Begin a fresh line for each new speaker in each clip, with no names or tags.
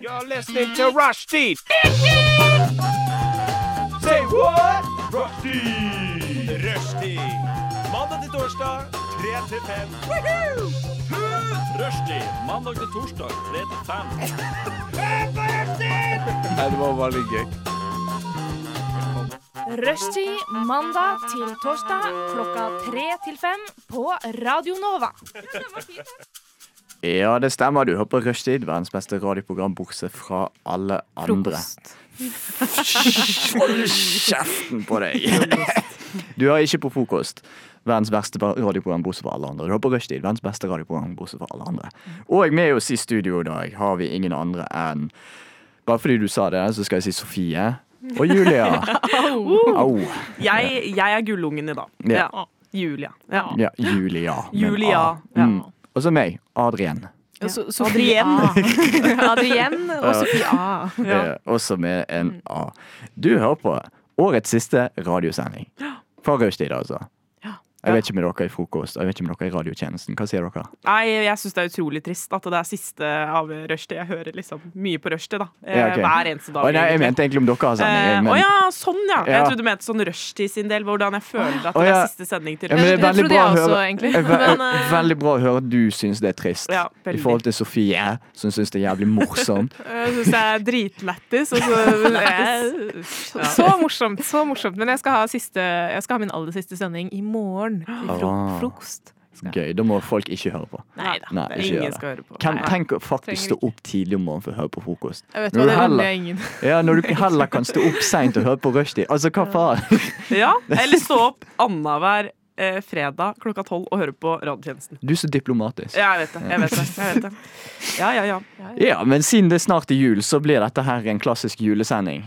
You're listening to Rushdie. Say what? Rushdie. Rushdie. Mandag til torsdag, 3 til 5. Rushdie. Mandag til torsdag, 3 til 5. Nei, det var veldig gøy.
Rushtid mandag til torsdag klokka tre til fem på Radio Nova.
Ja, det stemmer. Du hører på Rushtid, verdens beste radioprogram bortsett fra alle andre. Hold kjeften på deg! Du hører ikke på frokost. Verdens verste ba- radioprogram bortsett fra alle andre. Du hører på Rushtid, verdens beste radioprogram bortsett fra alle andre. Og med oss i studio i dag har vi ingen andre enn Bare fordi du sa det, så skal jeg si Sofie. Og Julia. Au.
Jeg, jeg er gullungen i dag.
Ja.
Ja. Julia. Ja.
Ja, Julia. men
Julia,
A.
ja.
Mm. Og så meg. Adrian.
So Sofie A. Adrienne og Sofie A.
Eh, også med
Mm.
en A. Du hører på årets siste radiosending. Fra Raustid, altså. Jeg vet ikke med dere i frokost jeg vet ikke med dere i radiotjenesten. Hva sier dere?
Nei, jeg syns det er utrolig trist at det er siste av rushtid. Jeg hører liksom mye på rushtid, da. Eh,
Ja, ok.
Hver eneste dag.
Å, nei, jeg
egentlig.
mente egentlig om dere har sending. jeg,
Eh,
men-
Å ja, sånn ja. Jeg
Ja.
trodde du mente sånn rushtid sin del, hvordan jeg føler at
Å
det
ja.
er siste sending til
Ja, men det
rushtid.
er
Det
veldig
trodde
bra, å
jeg også,
høre,
egentlig.
Eh, ve-
Men, eh,
veldig bra å høre at du syns det er trist.
Ja,
I
veldig.
forhold til Sofie, som syns det er jævlig morsomt.
Jeg syns jeg er dritlættis, og så ja.
Så morsomt, så morsomt. Men jeg skal ha, siste, jeg skal ha min aller siste sending i morgen. Til
Ah.
fro frokost.
Gøy. Da må folk ikke høre på.
Nei da.
Nei, ikke gjør
Ingen
det.
skal høre på.
Hvem,
Nei.
tenk å faktisk
Trenger
stå opp tidlig om morgenen for å høre på frokost.
Jeg vet
Når
hva,
du
det
heller-
unner jeg ingen.
Ja, Når du heller kan stå opp seint og høre på rushtid. Altså, hva faen?
Ja, eller stå opp annenhver eh, fredag klokka tolv og høre på radiotjenesten.
Du er så diplomatisk.
Ja, jeg vet det. Jeg vet det. Jeg vet det. Ja, ja, ja.
Ja, men siden det er snart er jul, så blir dette her en klassisk julesending.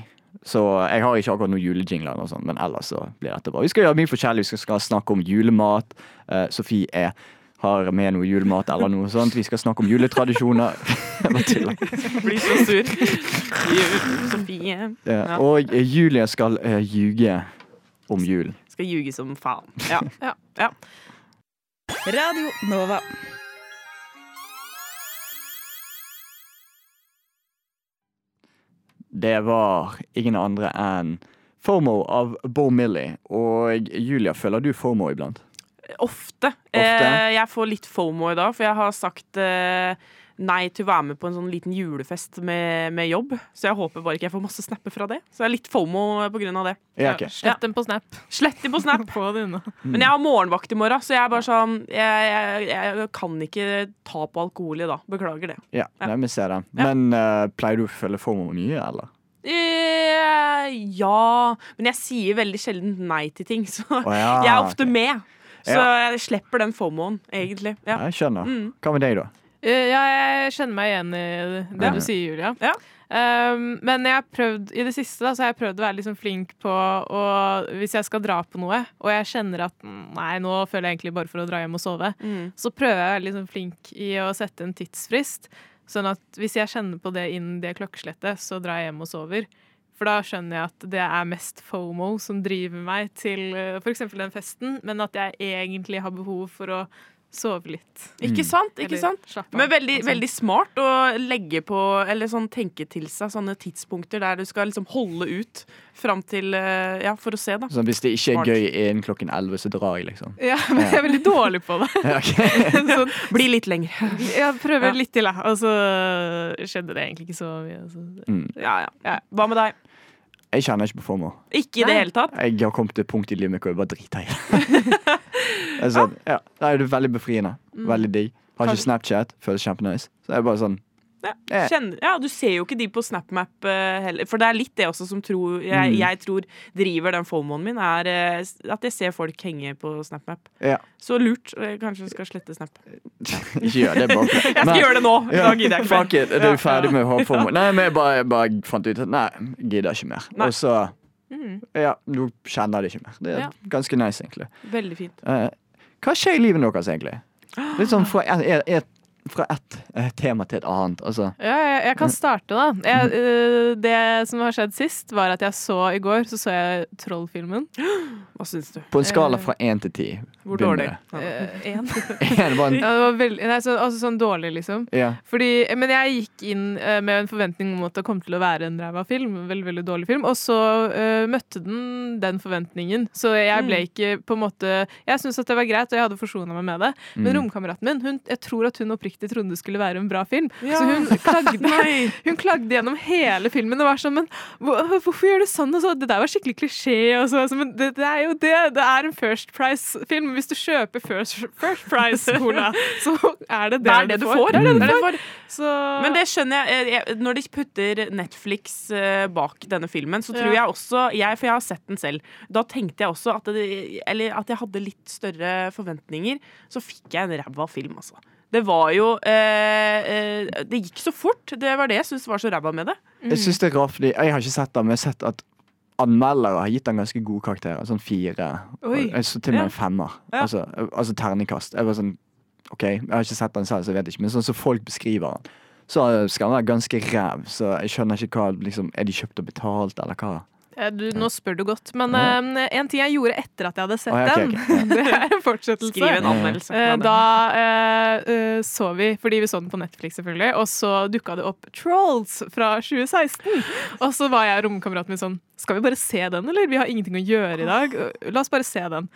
Så jeg har ikke akkurat noen julejingler, eller noe sånt, men ellers så blir dette bra. Vi skal gjøre mye forskjellig. Vi skal snakke om julemat. Eh, Sofie er, har med noe julemat eller noe sånt. Vi skal snakke om juletradisjoner. Bare tuller.
Blir så sur. Ju- Sofie
Eh, og eh, Julie skal eh, ljuge om julen.
skal ljuge som faen. Ja. ja. ja.
Radio Nova.
Det var ingen andre enn FOMO av Bo Millie. Og Julia, føler du FOMO iblant?
Ofte. Eh, jeg får litt fomo i dag, for jeg har sagt eh, nei til å være med på en sånn liten julefest med, med jobb. Så jeg håper bare ikke jeg får masse snapper fra det. Så jeg er litt fomo på grunn av det.
Ja, ok.
Slett den på Snap.
Slett det på snap.
Få det unna.
Men jeg har morgenvakt i morgen, så jeg er bare sånn Jeg, jeg, jeg kan ikke ta på alkohol i dag. Beklager det.
Ja,
Ja.
nei, vi ser det. Men eh, pleier du å følge FOMO mye, eller?
Eh, ja Men jeg sier veldig sjelden nei til ting, så
Å ja,
jeg er ofte
ok.
med. Så
Ja.
jeg slipper den fomoen, egentlig.
Ja,
Ja. Mm.
jeg skjønner. Hva med deg, da?
Eh, Ja, jeg kjenner meg igjen i det du sier, Julia.
Ja.
Um, men jeg har prøvd, i det siste da, så har jeg prøvd å være liksom flink på å Hvis jeg skal dra på noe, og jeg kjenner at mm, nei, nå føler jeg egentlig bare for å dra hjem og sove,
Mm.
så prøver jeg å være liksom flink i å sette en tidsfrist. Sånn at hvis jeg kjenner på det innen det klokkeslettet, så drar jeg hjem og sover. For da skjønner jeg at det er mest FOMO som driver meg til f.eks. den festen, men at jeg egentlig har behov for å sove litt.
Ikke
Mm.
sant? Ikke
Eller
sant?
slappe av,
Men veldig,
og sånn.
veldig smart å legge på Eller sånn tenke til seg sånne tidspunkter der du skal liksom holde ut fram til eh, Ja, for å se, da.
Sånn, hvis det ikke
Smart.
er gøy innen klokken 11, så drar jeg, liksom.
Ja, men jeg er veldig dårlig på det.
Ja, ok.
Sånn,
Bli litt lenger.
jeg prøver litt til, da. Og så skjedde det egentlig ikke så mye. Så.
Ja, ja. ja. Hva med deg?
Jeg kjenner ikke på FOMO.
Ikke i det
Nei.
hele tatt?
Jeg har kommet til et punkt i livet mitt hvor jeg bare driter i det. altså, ja. Nei, Det er veldig befriende.
Mm.
Veldig digg. Har ikke Snapchat. Føles kjempenice. Så jeg er bare sånn
Ja,
Eh.
kjenner, ja, du ser jo ikke de på SnapMap eh, heller. For det er litt det også som tror, jeg,
Mm.
jeg tror driver den fomoen min, er eh, s- at jeg ser folk henge på SnapMap.
Ja,
Så lurt. eh, Kanskje jeg skal slette Snap. Jeg
ikke gjør det, bare. Jeg
skal gjøre det nå! I dag gidder jeg ikke
Fuck
mer.
it, er du ferdig med å ha FOMO? Nei, men jeg bare, jeg bare fant ut at nei, gidder ikke mer.
Nei. Mhm.
Og så Ja, nå kjenner jeg det ikke mer. Det er
Ja.
ganske nice, egentlig.
Veldig fint.
Eh, hva skjer i livet deres, egentlig? Litt sånn fra et, et, et fra ett eh, tema til et annet. Altså,
Ja, jeg, jeg kan starte, da. Jeg, øh, det som har skjedd sist, var at jeg så i går så så jeg Trollfilmen.
Hva syns du?
på en skala
Eh,
fra én til ti.
Hvor
begynner
dårlig?
det.
Ja.
Eh, en.
Én var en
Ja, det var veldig, nei, så, altså sånn dårlig, liksom.
ja.
Fordi, men jeg gikk inn eh, med en forventning om at det kom til å være en ræva film. en Veldig, veldig dårlig film. Og så eh, møtte den den forventningen. Så jeg
Mm.
ble ikke på en måte Jeg syntes at det var greit, og jeg hadde forsona meg med det. Men
Mm.
romkameraten min, hun, jeg tror at hun oppriktig trodde det skulle være en bra film.
Ja.
Så hun klagde,
Nei!
hun klagde gjennom hele filmen og var sånn Men hvor- hvorfor gjør du sånn? Og så, det der var skikkelig klisjé. Og så, altså, men det, det er jo det. Det er en First Price-film. Hvis du kjøper First, first Price-cola, så er det det,
Det er det du får.
Det er det
Det
du
er det
får.
du får.
Så,
Men det skjønner jeg. eh, jeg. Når de putter Netflix eh, bak denne filmen, så tror
Ja.
jeg også jeg, For jeg har sett den selv. Da tenkte jeg også at, det, eller at jeg hadde litt større forventninger. Så fikk jeg en ræva film, altså. Det var jo eh, eh, Det gikk så fort. Det var det jeg syntes var så ræva med det.
Jeg synes det er rart, fordi jeg har ikke sett det, men jeg har sett at anmeldere har gitt den ganske gode karakterer. Sånn fire. Og,
Oi.
jeg så til og med
Ja.
en femmer.
Ja.
Altså, altså terningkast. Jeg var sånn OK, jeg har ikke sett den selv, så jeg vet ikke. Men sånn som folk beskriver den, så skal den være ganske ræv. Så jeg skjønner ikke hva liksom, Er de kjøpt og betalt, eller hva?
Ja, eh, du, nå spør du godt. Men
Ja.
eh, en ting jeg gjorde etter at jeg hadde sett
Å, ja, ok,
den, det er en fortsettelse.
Skriv en anmeldelse.
Eh,
Ja, det-
Da eh, eh, så vi, fordi vi så den på Netflix selvfølgelig, og så dukka det opp Trolls fra 2016. Og så var jeg og romkameraten min sånn Skal vi bare se den, eller? Vi har ingenting å gjøre i dag. La oss bare se den.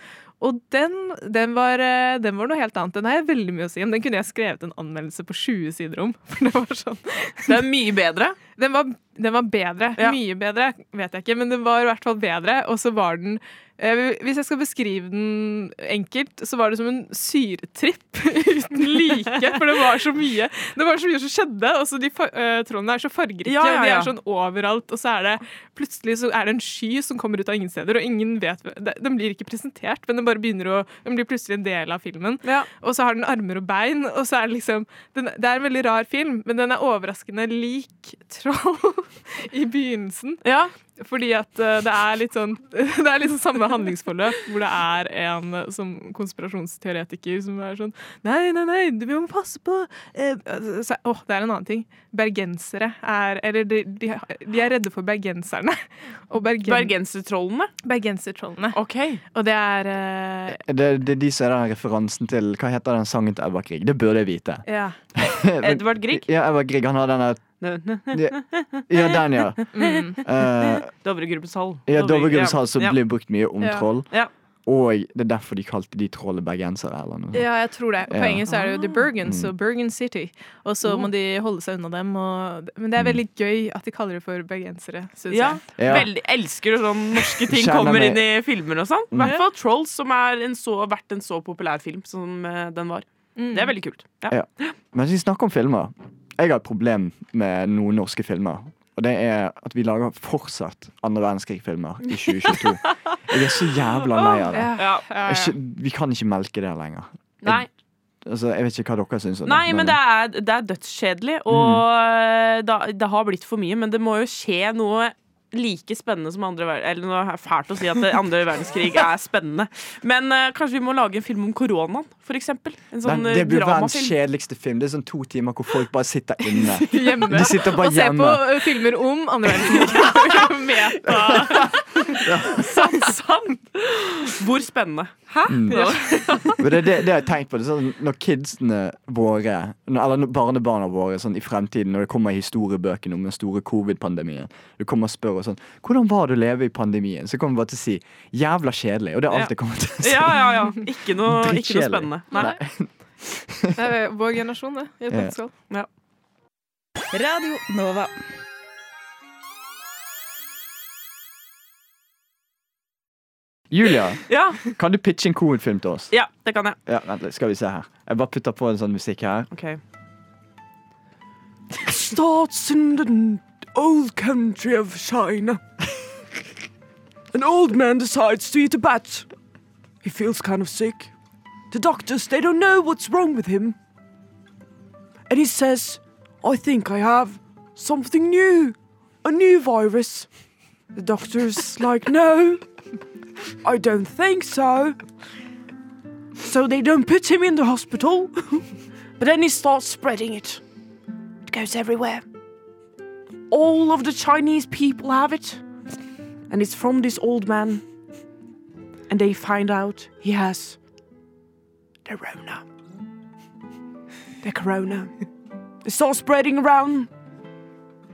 Og den, den, var, eh, den var noe helt annet. Den har jeg veldig mye å si om. Den kunne jeg skrevet en anmeldelse på 20 sider om. For det var sånn
det er mye bedre.
den var, den var bedre.
Ja.
Mye bedre, vet jeg ikke, men den var i hvert fall bedre. Og så var den eh, Hvis jeg skal beskrive den enkelt, så var det som en syretripp uten like. For det var så mye Det var så mye som skjedde. Og så de fa- eh, trollene er så fargerike,
Ja, ja,
og de
ja.
er sånn overalt. Og så er det plutselig så er det en sky som kommer ut av ingen steder, og ingen vet hva- det- Den blir ikke presentert, men den bare begynner å Den blir plutselig en del av filmen. Og så har den armer og bein, og så er det liksom den, Det er en veldig rar film, men den er overraskende lik Troll i begynnelsen.
Ja.
Fordi at eh, det er litt sånn Det er liksom samme handlingsforløp, hvor det er en eh, som konspirasjonsteoretiker som er sånn Nei, nei, nei, du- vi må passe på eh, altså, så, Åh, det er en annen ting. Bergensere er Eller de, de, de er redde for bergenserne. Og bergen,
Bergensertrollene.
bergensertrollene.
OK.
Og det er eh,
Det, det er de som er den referansen til Hva heter den sangen til Edvard Grieg? Det burde jeg vite.
Ja.
Men-
Edvard Grieg.
Ja, Edvard Grieg. Han har den der Ja, den, ja.
Mm.
Eh,
Dovregruppens hall.
ja
Dovre-
Dovregrubbens hals som
ja.
blir brukt mye om
Ja.
troll.
Ja.
Og det er derfor de kalte de trollet bergensere, eller noe sånt.
Ja, jeg tror det. På
Ja. Mm.
engelsk er det jo The Bergens og Bergen City. Og så må de holde seg unna dem. Og, men
Mm.
det er veldig gøy at de kaller det for bergensere, syns
Ja.
jeg.
Ja.
Veldig elsker når sånn norske ting
Kjenner
kommer
meg-
inn i filmer og sånn.
Mm.
I hvert fall Trolls, som er en så, har vært en så populær film som eh, den var. Det er veldig kult. Ja.
Ja. Mens vi snakker om filmer Jeg har et problem med noen norske filmer. Og det er at vi lager fortsatt andre verdenskrig-filmer i 2022. Jeg er så jævla lei av det.
Ja.
Jeg er ikke, vi kan ikke melke det lenger.
Nei,
Altså, jeg vet ikke hva dere syns om
Nei, men det er, det er dødskjedelig, og
Mm.
eh, da, det har blitt for mye. Men det må jo skje noe like spennende som andre verdenskrig. Eller nå er det fælt å si at det andre verdenskrig er spennende. Men eh, kanskje vi må lage en film om koronaen, for eksempel. En sånn
Den,
eh,
det blir verdens
dramafilm.
kjedeligste film. Det er sånn to timer hvor folk bare sitter inne.
Hjemme.
De sitter bare
Og se på
hjemme.
ø, filmer om andre verdenskrig. Meta.
Sant, sant! Hvor spennende. Mm. Hæ? Ja.
Men det, det, det har jeg tenkt på. Det er sånn, når kidsene våre, når- eller når barnebarna våre sånn, i fremtiden, når det kommer i historiebøkene om den store covid-pandemien Du kommer og spør og sånn 'Hvordan var det å leve i pandemien?' Så kommer jeg bare til å si 'jævla kjedelig'. Og det er alt jeg kommer til å si.
Ja, ja, ja. Ikke noe, ikke noe
Drittkjedelig.
spennende. Nei.
Det er eh, vår generasjon, det. I et
Ja.
nøtteskall.
Radio Nova.
Julia,
Ja,
kan du pitche en covid-film til oss?
ja, det kan jeg.
Ja, vent litt, skal vi se her. Jeg bare putter på en sånn musikk her.
Okay. Starts in the old country of China. An old man decides to eat a bat. He feels kind of sick. The doctors, they don't know what's wrong with him. And he says, I think I have something new, a new virus. The doctor's like, No, I don't think so. So they don't put him in the hospital. But then he starts spreading it. It goes everywhere. All of the Chinese people have it. And it's from this old man. And they find out he has the Rona. The Corona. It starts spreading around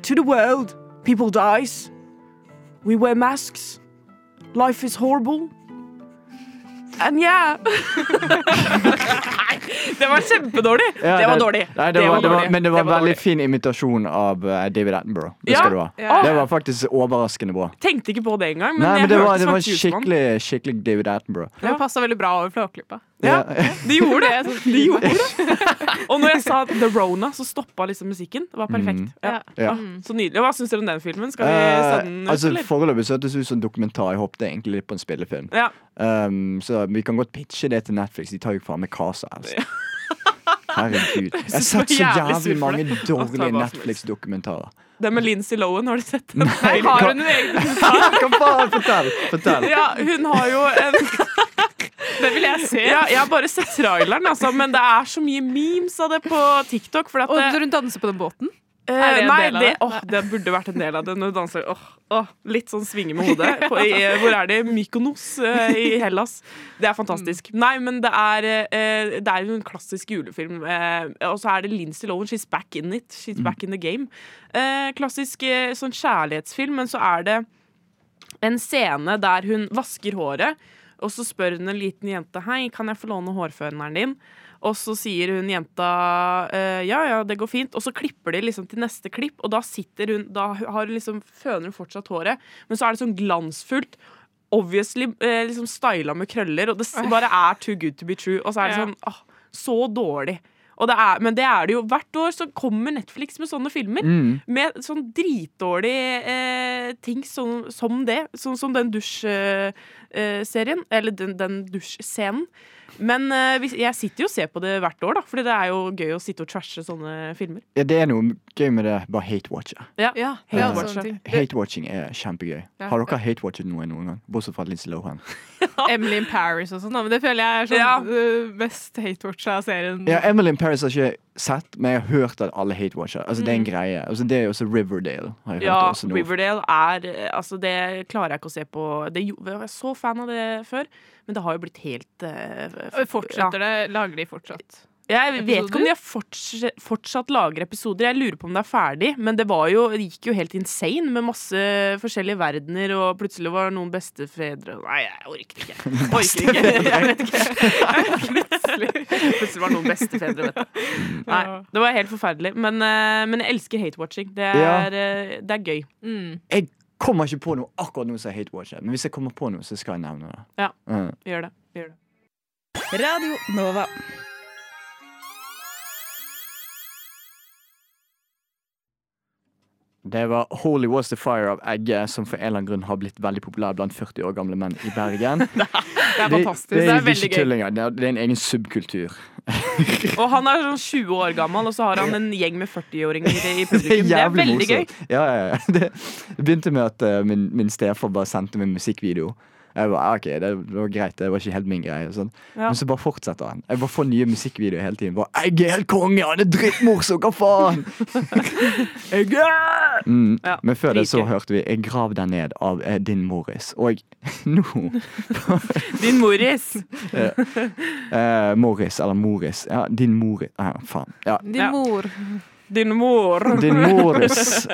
to the world. People dies. We wear masks. Life is horrible. And yeah. det var kjempedårlig.
Ja,
det var dårlig.
Nei, det var, det var,
dårlig.
men det var en veldig
dårlig.
fin imitasjon av eh, David Attenborough. Det
Ja,
skal du ha.
ja.
Det var faktisk overraskende bra.
Tenkte ikke på det engang. Men,
Nei, men
jeg
det
hørte
var, det
som
var
en tjuvmann.
skikkelig, skikkelig David Attenborough.
Det passa veldig bra over Flåklypa.
Ja.
Ja.
De gjorde det. De gjorde det. Og når jeg sa The Rona, så stoppa liksom musikken. Det var perfekt. Ja.
Mm. Ja.
Ah, Så nydelig. Hva syns dere om den filmen? Skal vi se den
Eh,
ut,
altså,
eller?
foreløpig så hørtes det ut som en dokumentar. Jeg håpet egentlig litt på en spillefilm.
Ja.
Um, så vi kan godt pitche det til Netflix. De tar jo faen meg hva som helst. Herregud. Jeg har sett så
jævlig sur
jævlig
for
mange
det. Altså, hva
dårlige
som helst.
Netflix-dokumentarer.
Den med Lindsay Lohan, har du sett den?
Nei,
Har
hva-
hun en egen
Hva faen? Fortell! fortell.
Ja, hun har jo en
Det vil jeg se.
ja, Jeg har bare sett traileren, altså, men det er så mye memes av det på TikTok. For at
Og
det,
når hun danser på den båten.
Eh,
Er det en
nei,
del av
det?
det?
Åh, det burde vært en del av det. Når du danser åh, åh, Litt sånn svinge med hodet. På, i, eh, hvor er det? Mykonos eh, i Hellas. Det er
Mm.
fantastisk. Nei, men det er eh, Det er jo en klassisk julefilm. eh, og så er det Lindsay Lohan. She's back in it.
Mm.
She's back in the game. Eh, klassisk eh, sånn kjærlighetsfilm, men så er det en scene der hun vasker håret, og så spør hun en liten jente Hei, kan jeg få låne hårføneren din? Og så sier hun jenta «Eh, ja, ja, det går fint. Og så klipper de liksom til neste klipp, og da sitter hun Da har hun liksom, føner hun fortsatt håret, men så er det sånn glansfullt. Obviously eh, liksom styla med krøller, og det s- bare er too good to be true. Og så er det
Ja.
sånn åh, Så dårlig. Og det er, men det er det jo. Hvert år så kommer Netflix med sånne filmer. Med sånn dritdårlige eh, ting som, som det. Sånn som den dusjserien. Eh, serien, eller den, den dusjscenen. Men eh, hvis- jeg sitter jo og ser på det hvert år, da. Fordi det er jo gøy å sitte og trashe sånne filmer.
Ja, det er noe gøy med det. Bare hate-watche.
Ja,
Hate
ja,
watcher.
sånne ting.
Hate-watching er kjempegøy.
Ja.
Har dere hate-watchet noe noen gang? Bortsett fra Lindsay Lohan.
Emily in Paris og sånn. da, Men det føler jeg er sånn
Ja.
øh, mest hate-watcha av serien.
Ja, Emily in Paris har jeg ikke sett, men jeg har hørt at alle hate-watcher. Altså, Det er en greie. Altså, det er jo også Riverdale. Har jeg hørt
Mm. Ja,
også nå.
Riverdale er eh, Altså, det klarer jeg ikke å se på. Det, jo- jeg var så fan av det før, men det har jo blitt helt eh, f-
Fortsetter det? Lager de fortsatt?
Jeg vet ikke om
Episoder?
de har fortsatt, fortsatt lager episoder. Jeg lurer på om det er ferdig. Men det, var jo, det gikk jo helt insane med masse forskjellige verdener, og plutselig var noen bestefedre Nei, jeg orker ikke. Jeg Orker ikke. Jeg vet ikke. Plutselig, plutselig var noen bestefedre, vet du. Nei, det var helt forferdelig. Men, eh, men jeg elsker hate-watching. Det,
Ja.
er, eh, det er gøy.
Jeg kommer ikke på noe akkurat nå som er hate-watcher, men hvis jeg kommer på noe, så skal jeg nevne det.
Ja.
Mm.
Gjør det. Gjør det.
Radio Nova.
Det var Holy Was The Fire av Egge, som for en eller annen grunn har blitt veldig populær blant 40 år gamle menn i Bergen. Det
Det er fantastisk. Det, er veldig
ikke
gøy.
tullinger, det er- det er en egen subkultur.
Og han er sånn 20 år gammel, og så har han en gjeng med 40-åringer i
Det er
publikum. Det er
jævlig
veldig gøy.
morsomt. Ja, ja, ja. Det det begynte med at eh, min, min stefar bare sendte meg musikkvideo. Jeg bare, ah, ok, det var greit, det var ikke helt min greie. og Sånn.
Ja.
Men så bare fortsetter han. Jeg bare får nye musikkvideoer hele tiden. Bare, jeg er helt konge, han er drittmorsom, hva faen? Mm.
Ja,
Men før det så
dritgøy.
hørte vi 'Jeg grav deg ned' av eh, Din Morris. Og nå
Din Morris.
eh, Morris, eller Morris. Ja, Din Morris Nei, faen. Ja.
Din
Ja.
mor.
Din mor.
Din Morris.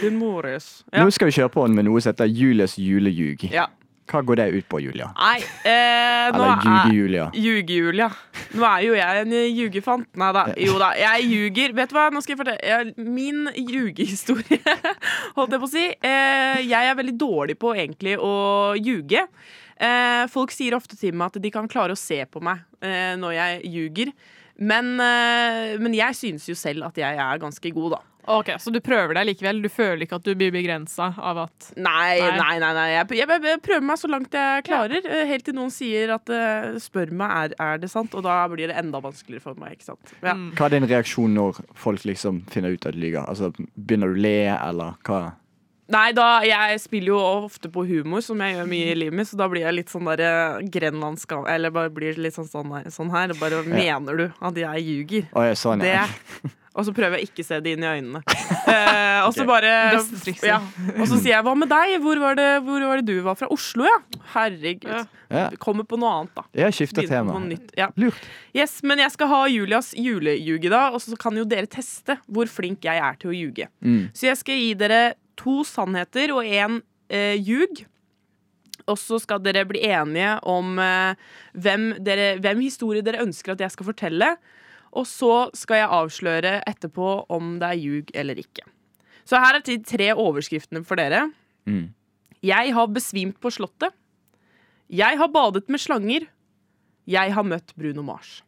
Din Morris. Ja.
Nå skal vi kjøre på med noe som heter Julias julejug.
Ja.
Hva går det ut på, Julia?
Nei, eh, nå
Eller
er
Juge-Julia.
Ljuge-Julia. Nå er jo jeg en ljugefant. Nei da. Jo da, jeg ljuger. Vet du hva, nå skal jeg fortelle jeg- min ljugehistorie. Holdt jeg på å si. Eh, jeg er veldig dårlig på egentlig å ljuge. Eh, folk sier ofte til meg at de kan klare å se på meg eh, når jeg ljuger. Men, eh, men jeg synes jo selv at jeg er ganske god, da.
Ok, Så du prøver deg likevel? Du føler ikke at du blir begrensa av at
Nei,
Nei.
nei, nei. nei. Jeg, jeg, jeg prøver meg så langt jeg klarer, eh, helt til noen sier at eh, Spør meg, er, er det sant? Og da blir det enda vanskeligere for meg. ikke sant? Ja.
Hva er din reaksjon når folk liksom finner ut at du lyver? Altså, begynner du å le, eller hva?
Nei, da, jeg spiller jo ofte på humor, som jeg gjør mye i livet mitt, så da blir jeg litt sånn der eh, grenlandsk Eller bare blir litt sånn, sånn, her, sånn her. Bare mener du at jeg ljuger?
Å, ja, sånn,
Det
ja.
og så prøver jeg ikke å se det inn i øynene. Eh, og så
Ok.
bare
Beste trikset.
ja. Og så sier jeg 'hva med deg? Hvor var det, hvor var det du var fra?' Oslo, ja. Herregud.
Ja.
Ja.
Kommer på noe annet, da.
Jeg skifter
Begynner på
tema.
noe nytt. Ja.
Lurt.
Yes, men jeg skal ha Julias juleljuge, da. Og så kan jo dere teste hvor flink jeg er til å ljuge.
Mm.
Så jeg skal gi dere to sannheter og én eh, ljug. Og så skal dere bli enige om eh, hvem, dere, hvem historie dere ønsker at jeg skal fortelle. Og så skal jeg avsløre etterpå om det er ljug eller ikke. Så her er de tre overskriftene for dere.
Mm.
Jeg har besvimt på Slottet. Jeg har badet med slanger. Jeg har møtt Bruno Mars.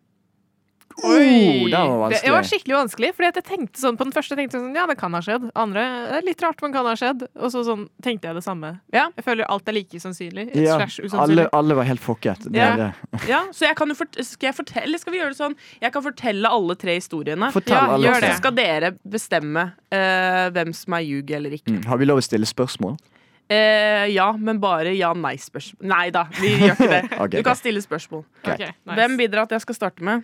Oh, det var
Det, det var
vanskelig.
skikkelig vanskelig, fordi at jeg tenkte sånn på den første tenkte jeg sånn, ja, det kan ha skjedd. Andre, det er litt rart, men kan ha skjedd. Og så sånn, tenkte jeg det samme.
Ja.
Jeg føler alt er like sannsynlig.
Ja,
slash usannsynlig.
alle, alle var helt fucket. Det,
Ja.
er det.
Ja, så jeg kan jo fort skal jeg fortelle, eller skal vi gjøre det sånn? Jeg kan fortelle alle tre historiene.
Fortell
Ja,
alle
gjør
oss
det.
Så skal dere bestemme eh, hvem som er ljug eller ikke.
Mm. Har vi lov å stille spørsmål?
Eh, ja, men bare ja-nei-spørsmål. Nei da, vi gjør ikke det.
Ok,
du kan
greit.
stille spørsmål.
Ok,
Greit.
nice.
Hvem vil dere at jeg skal starte med?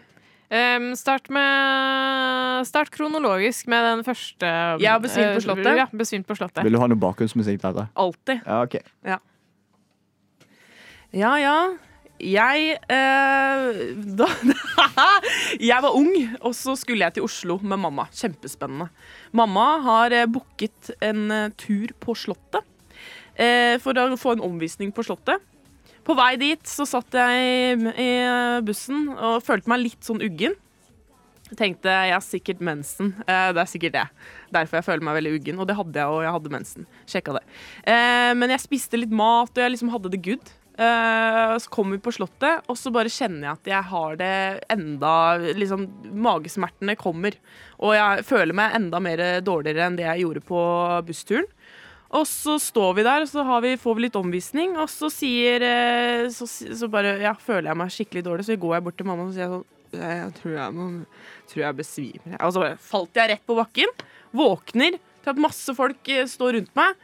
Ehm, start med Start kronologisk med den første.
Jeg har besvimt på
eh,
Slottet.
Ja, besvimt på slottet.
Vil du ha noe bakgrunnsmusikk til dette?
Alltid.
Ja, ok.
Ja, ja. Jeg eh, da, Jeg var ung, og så skulle jeg til Oslo med mamma. Kjempespennende. Mamma har eh, booket en eh, tur på Slottet eh, for å få en omvisning på Slottet. På vei dit så satt jeg i- i eh, bussen og følte meg litt sånn uggen. Tenkte jeg har sikkert mensen. Eh, det er sikkert det. Derfor jeg føler meg veldig uggen. Og det hadde jeg, og jeg hadde mensen. Sjekka det. Eh, men jeg spiste litt mat, og jeg liksom hadde det good. Eh, så kom vi på Slottet, og så bare kjenner jeg at jeg har det enda Liksom, magesmertene kommer. Og jeg føler meg enda mer dårligere enn det jeg gjorde på bussturen. Og så står vi der, og så har vi, får vi litt omvisning, og så sier eh, Så, så bare Ja, føler jeg meg skikkelig dårlig, så går jeg bort til mamma og så sier jeg sånn «Eh, Jeg tror jeg, må, tror jeg besvimer. Og så bare falt jeg rett på bakken. Våkner til at masse folk eh, står rundt meg.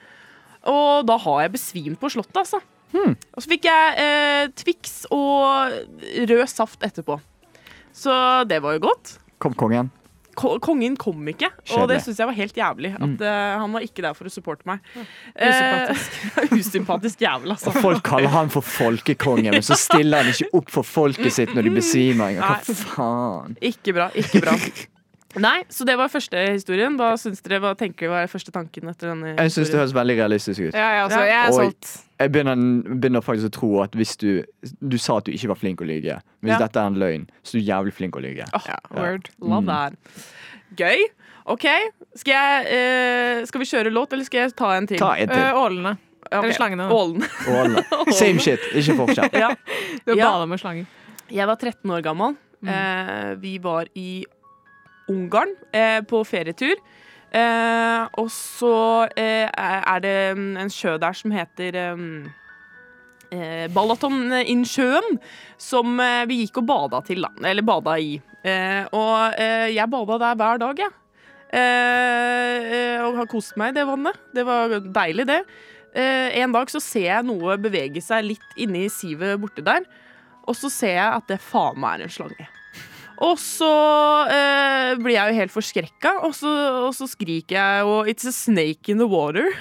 Og da har jeg besvimt på Slottet, altså.
Hmm.
Og så fikk jeg eh, Twix og rød saft etterpå. Så det var jo godt.
Kom, kongen.
Ko- Kongen kom ikke, og det
Kjedelig. Hmm.
syns jeg var helt jævlig. At eh, Han var ikke der for å supporte meg.
usympatisk.
Eh, usympatisk jævel, altså.
Og folk kaller han for folkekongen, men så stiller han ikke opp for folket sitt når de besvimer. engang.
Nei.
Hva faen?
Ikke bra. ikke bra Nei, Så det var første historien. Hva syns dere, hva tenker dere var første tanken? etter denne
Jeg syns det
historien?
høres veldig realistisk ut.
Ja, ja, altså, jeg er
Oi.
solgt.
Jeg begynner, begynner faktisk å tro at hvis du Du sa at du ikke var flink å lyge. Men hvis
Ja.
dette er en løgn, så er du jævlig flink å lyge.
Åh,
Word.
Love that. Gøy. OK. Skal, jeg, eh, skal vi kjøre låt, eller skal jeg ta en til?
Ta en
Eh,
til.
ålene.
Ja, ok.
eller slangene.
Ålen.
Ålene. Same shit, ikke forskjell.
ja.
Du
Ja.
bader med slanger.
Jeg var 13 år gammel. Eh, vi var i Ungarn eh, på ferietur. Eh, og så eh, er det mm, en sjø der som heter um, eh, Balatoninnsjøen, som eh, vi gikk og bada til, da. Eller bada i. Eh, og eh, jeg bada der hver dag, jeg. Eh, eh, og har kost meg i det vannet. Det var deilig, det. Eh, en dag så ser jeg noe bevege seg litt inni sivet borte der. Og så ser jeg at det faen meg er en slange. Og så eh, blir jeg jo helt forskrekka, og så, og så skriker jeg jo 'It's a snake in the water'.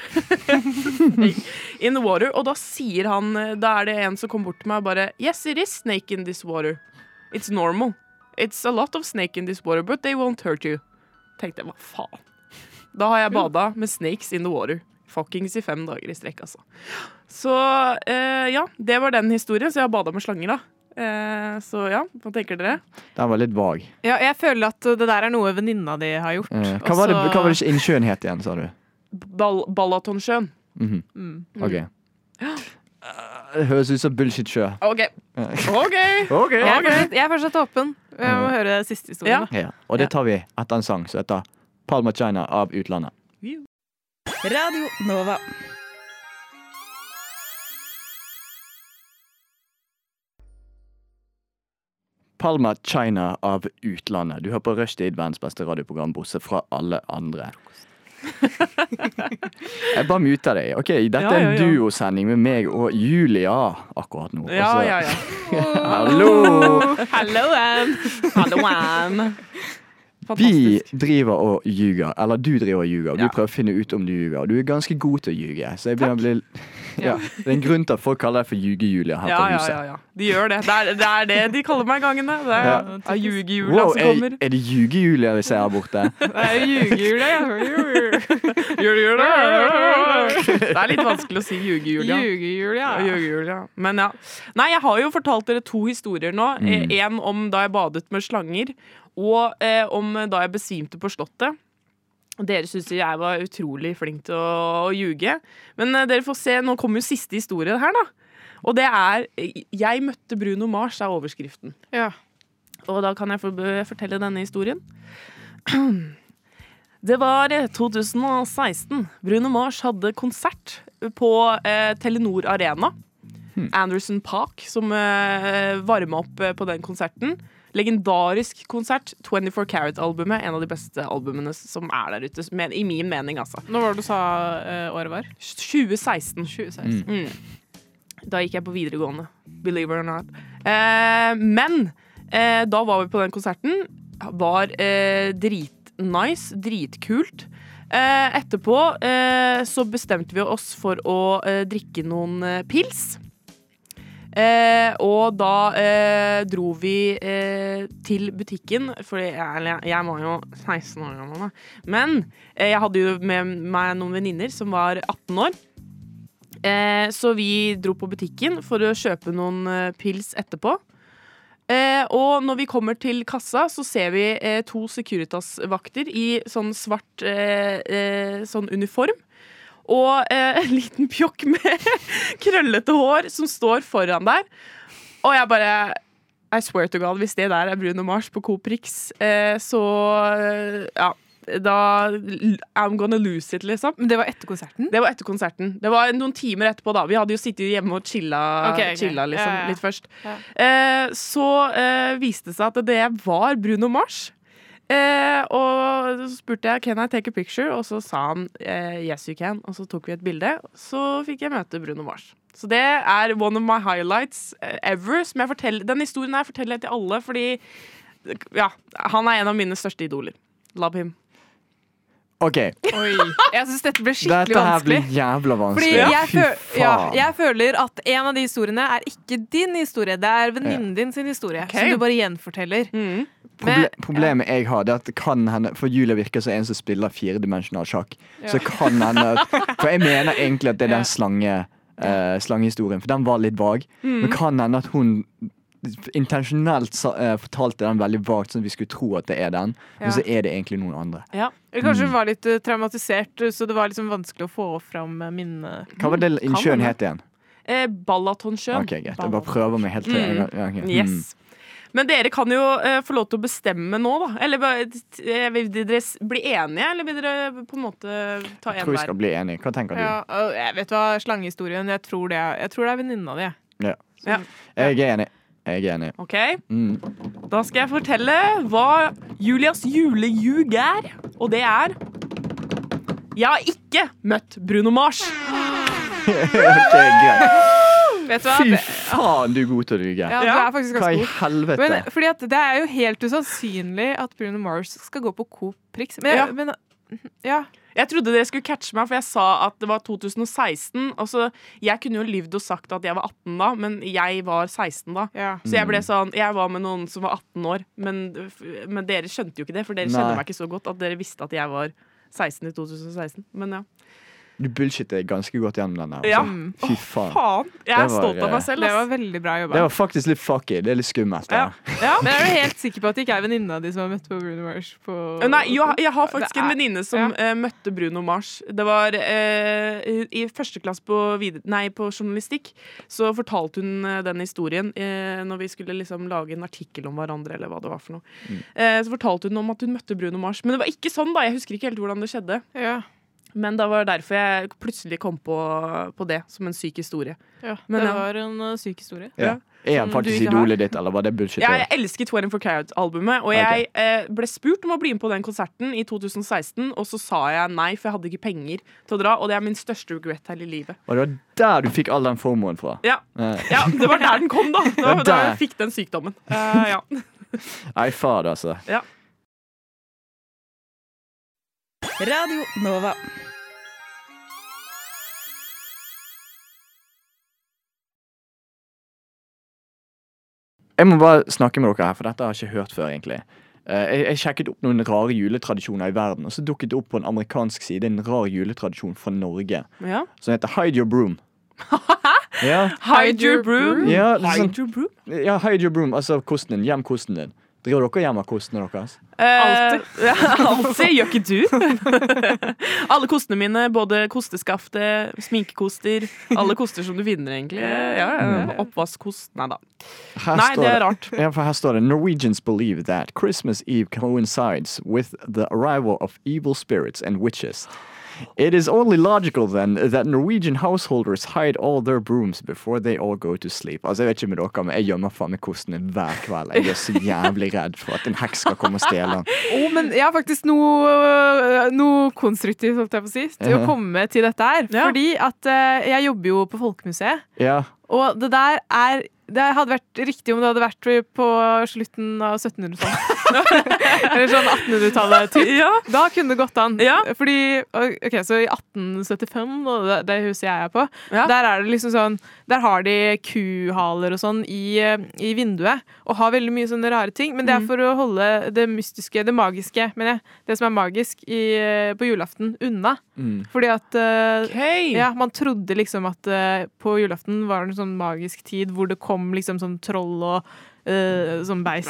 Snake in the water Og da sier han Da er det en som kommer bort til meg og bare 'Yes, it is snake in this water'. It's normal. It's a lot of snake in this water, but they won't hurt you. Tenkte jeg, hva faen. Da har jeg bada med snakes in the water. Fuckings i fem dager i strekk, altså. Så eh, ja, det var den historien. Så jeg har bada med slanger, da. Eh, så ja, hva tenker dere?
Den var litt vag.
Ja, jeg føler at det der er noe venninna di har gjort.
Eh,
og
Hva var det,
så-
hva var det ikke innsjøen het igjen, sa du?
Bal Balatonsjøen.
Mhm.
Mm.
Ok. Eh, Det høres ut som bullshit sjø.
OK. OK.
Ok.
Jeg, er fortsatt, jeg er fortsatt åpen.
Mm.
Jeg må høre siste
Ja.
historien. da.
Ja. Og det tar vi etter en sang som heter Palma China av utlandet.
Radio Nova.
Palma China av utlandet. Du hører på Rushtid, verdens beste radioprogram, bortsett fra alle andre. Jeg bare muter deg. Ok, dette
Ja,
er
ja,
en
ja.
duosending med meg og Julia akkurat nå. Og
Ja,
så-
ja, ja.
Hallo!
Hello, Anne!
Hallo, Anne.
Vi
Fantastisk.
driver og ljuger, eller du driver og ljuger. Du
Ja.
prøver å finne ut om du ljuger, og du er ganske god til å ljuge. Så jeg begynner å bli... ja. Det er en grunn til at folk kaller deg for Ljuge-Julia her
Ja,
på
ja,
huset.
ja, ja. De gjør det. Det er det, er det de kaller meg i gangene. Det er
Ja.
ja. ljugehjula
Wow,
som
er,
kommer.
er det Ljuge-Julia vi ser her borte?
Det er ljugehjul, ja.
Gjør det, gjør det. Det er litt vanskelig å si ljugehjula.
Ljugehjul, ja.
Ja, Ljugehjul, ja. Men ja. Nei, jeg har jo fortalt dere to historier nå.
Mm.
Én om da jeg badet med slanger, og eh, om da jeg besvimte på Slottet. Dere syns jeg var utrolig flink til å, å ljuge. Men eh, dere får se, nå kommer jo siste historie her, da. Og det er eh, 'Jeg møtte Bruno Mars' er overskriften.
Ja.
Og da kan jeg få- fortelle denne historien. Det var eh, 2016. Bruno Mars hadde konsert på eh, Telenor Arena. Anderson Park som eh, varma opp eh, på den konserten. Legendarisk konsert. 24 Carat-albumet. En av de beste albumene som er der ute, men, i min mening, altså.
Nå var det du sa eh, året var?
2016.
2016.
Mm. Da gikk jeg på videregående. Believe it or not. Eh, men eh, da var vi på den konserten. Var eh, dritnice, dritkult. Eh, etterpå eh, så bestemte vi oss for å eh, drikke noen eh, pils. Eh, og da eh, dro vi eh, til butikken, for jeg, eller jeg- jeg var jo 16 år gammel. Da. Men eh, jeg hadde jo med meg noen venninner som var 18 år. Eh, så vi dro på butikken for å kjøpe noen eh, pils etterpå. Eh, og når vi kommer til kassa, så ser vi eh, to Securitas-vakter i sånn svart eh, eh, sånn uniform. Og eh, en liten pjokk med krøllete hår som står foran der. Og jeg bare I swear to God, hvis det der er Bruno Mars på Coop Rix, eh, så eh, Ja. Da I'm gonna lose it, liksom.
Men det var etter konserten?
Det var etter konserten. Det var noen timer etterpå, da. Vi hadde jo sittet hjemme og chilla,
Ok, ok.
chilla liksom,
Ja, ja.
litt først.
Ja.
Eh, så eh, viste det seg at det var Bruno Mars. Eh, og så spurte jeg Can I take a picture, og så sa han eh, yes you can. Og så tok vi et bilde. Så fikk jeg møte Bruno Mars. Så det er one of my highlights eh, ever. Som jeg forteller, den historien her forteller jeg til alle, fordi ja, han er en av mine største idoler. Love him.
Ok,
Oi. Jeg syns dette ble skikkelig
dette her
vanskelig.
blir jævla
Fordi
vanskelig.
jeg,
Fy
føl ja,
faen.
jeg føler at en av de historiene er ikke din historie. Det er venninnen din sin historie, som du bare gjenforteller.
Mm.
Proble
Men-
problemet jeg har, det er at det kan hende For Julia virker som en som spiller firedimensjonal sjakk. Så kan hende at- For jeg mener egentlig at det er den slange eh, slangehistorien, for den var litt vag. Men kan hende at hun intensjonelt sa, eh, fortalte den veldig vagt, sånn at vi skulle tro at det er den. Men så er det egentlig noen andre.
Ja.
Eller
Mm.
kanskje hun var litt eh, traumatisert, så det var liksom vanskelig å få fram eh, minnet.
Hva var det
kan
innsjøen
hende.
het igjen?
Eh, Balatonsjøen.
Ok, greit. Jeg bare prøver meg helt til. en gang. Ja, ok. Mm.
Yes. Men dere kan jo eh, få lov til å bestemme nå, da. Eller bare- eh, vil dere s- bli enige, eller vil dere på en måte ta
Jeg
en
tror vi skal
hver?
bli enige. Hva tenker du?
Ja, og jeg vet hva, slangehistorien, jeg tror det, er- jeg tror det er venninna di. jeg.
Jeg er enig. Jeg er enig.
Ok,
Mm.
Da skal jeg fortelle hva Julias julejug er, og det er Jeg har ikke møtt Bruno Mars.
Ok, greit.
Vet du hva?
Fy
Det,
faen, du er god til å lyve.
ja, du er faktisk
Hva
ganske
i
god.
helvete?
Men fordi at det er jo helt usannsynlig at Bruno Mars skal gå på Coop Prix. Men,
Ja.
men ja.
Jeg trodde dere skulle catche meg, for jeg sa at det var 2016. Og så, jeg kunne jo lyvd og sagt at jeg var 18 da, men jeg var 16 da.
ja.
Så jeg ble
Mm.
sånn, jeg var med noen som var 18 år, men, men dere skjønte jo ikke det, for dere
Nei.
kjenner meg ikke så godt at dere visste at jeg var 16 i 2016. Men ja.
Du bullshitter ganske godt gjennom den her.
Ja.
altså. Fy faen.
Faen! Jeg
Det var,
er stolt av
eh,
meg selv.
Det var
Ass.
veldig bra jobba.
Det var faktisk litt fucky. Det er litt skummelt. det
Ja.
her.
Ja.
Men er du helt sikker på at det ikke er venninna di som har møtt på Bruno Mars? På
Nei, jo, jeg har faktisk
Det
en
er-
venninne som
ja.
eh, møtte Bruno Mars. Det var eh, i første klasse på, vide, nei, på journalistikk. Så fortalte hun eh, den historien eh, når vi skulle liksom lage en artikkel om hverandre. Eller hva det var for noe.
Mm.
Eh, så fortalte hun om at hun møtte Bruno Mars. Men det var ikke sånn, da. Jeg husker ikke helt hvordan det skjedde.
Ja.
Men det var derfor jeg plutselig kom på, på det som en syk historie.
Ja,
Men
det
ja.
var en uh, syk historie.
Ja. Er han
Som Mm, du
faktisk
ikke har?
idolet ditt, eller var det bullshit?
Ja, jeg elsker 24 Carat-albumet, og jeg eh, ble spurt om å bli med på den konserten i 2016, og så sa jeg nei, for jeg hadde ikke penger til å dra, og det er min største regret her i livet.
Og det var der du fikk all den formoen fra?
Ja,
Eh,
ja det var der den kom, da. Det var
Det er
da jeg
der.
fikk den sykdommen. Eh, ja.
Nei, fader, altså.
Radio Nova.
Jeg må bare snakke med dere her, for dette har jeg ikke hørt før, egentlig. Eh, Jeg, jeg sjekket opp noen rare juletradisjoner i verden, og så dukket det opp på en amerikansk side en rar juletradisjon fra Norge
ja.
som heter Hide your broom. ja,
Hide your broom.
ja, det er sånn,
Hide your broom?
ja, hide your broom, altså kosten din. Gjem kosten din. Driver dere og gjemmer kostene deres?
Eh,
Alltid. Ja, Eh, alltid. Gjør ikke du? alle kostene mine, både kosteskaftet, sminkekoster, alle koster som du finner, egentlig. Ja, ja. Oppvaskkost. Nei da.
Her
Nei,
står
det er rart.
Ja, for her står det Norwegians believe that Christmas Eve coincides with the arrival of evil spirits and witches. It is only logical then that Norwegian householders hide all their brooms before they all go to sleep. Altså, jeg vet ikke med dere, men jeg gjemmer faen meg kosten min hver kveld. Jeg er så jævlig redd for at en heks skal komme og stjele den.
Oh, men jeg har faktisk noe, øh, noe konstruktivt holdt jeg på å si,
Ja.
til å komme til dette her.
Ja.
Fordi at øh, jeg jobber jo på Folkemuseet,
Ja,
og det der er det hadde vært riktig om det hadde vært på slutten av 1700-tallet. Eller sånn 1800-tallet. typ.
Ja.
Da kunne det gått an.
Ja.
Fordi, ok, Så i 1875, da, det, det huset jeg er på,
Ja.
der er det liksom sånn Der har de kuhaler og sånn i, eh, i vinduet, og har veldig mye sånne rare ting. Men det
Mhm.
er for å holde det mystiske, det magiske, mener jeg, det som er magisk i, eh, på julaften, unna.
Mm.
Fordi at eh,
Hey.
ja, Man trodde liksom at eh, på julaften var det en sånn magisk tid hvor det kom liksom sånn troll og eh, sånn beist,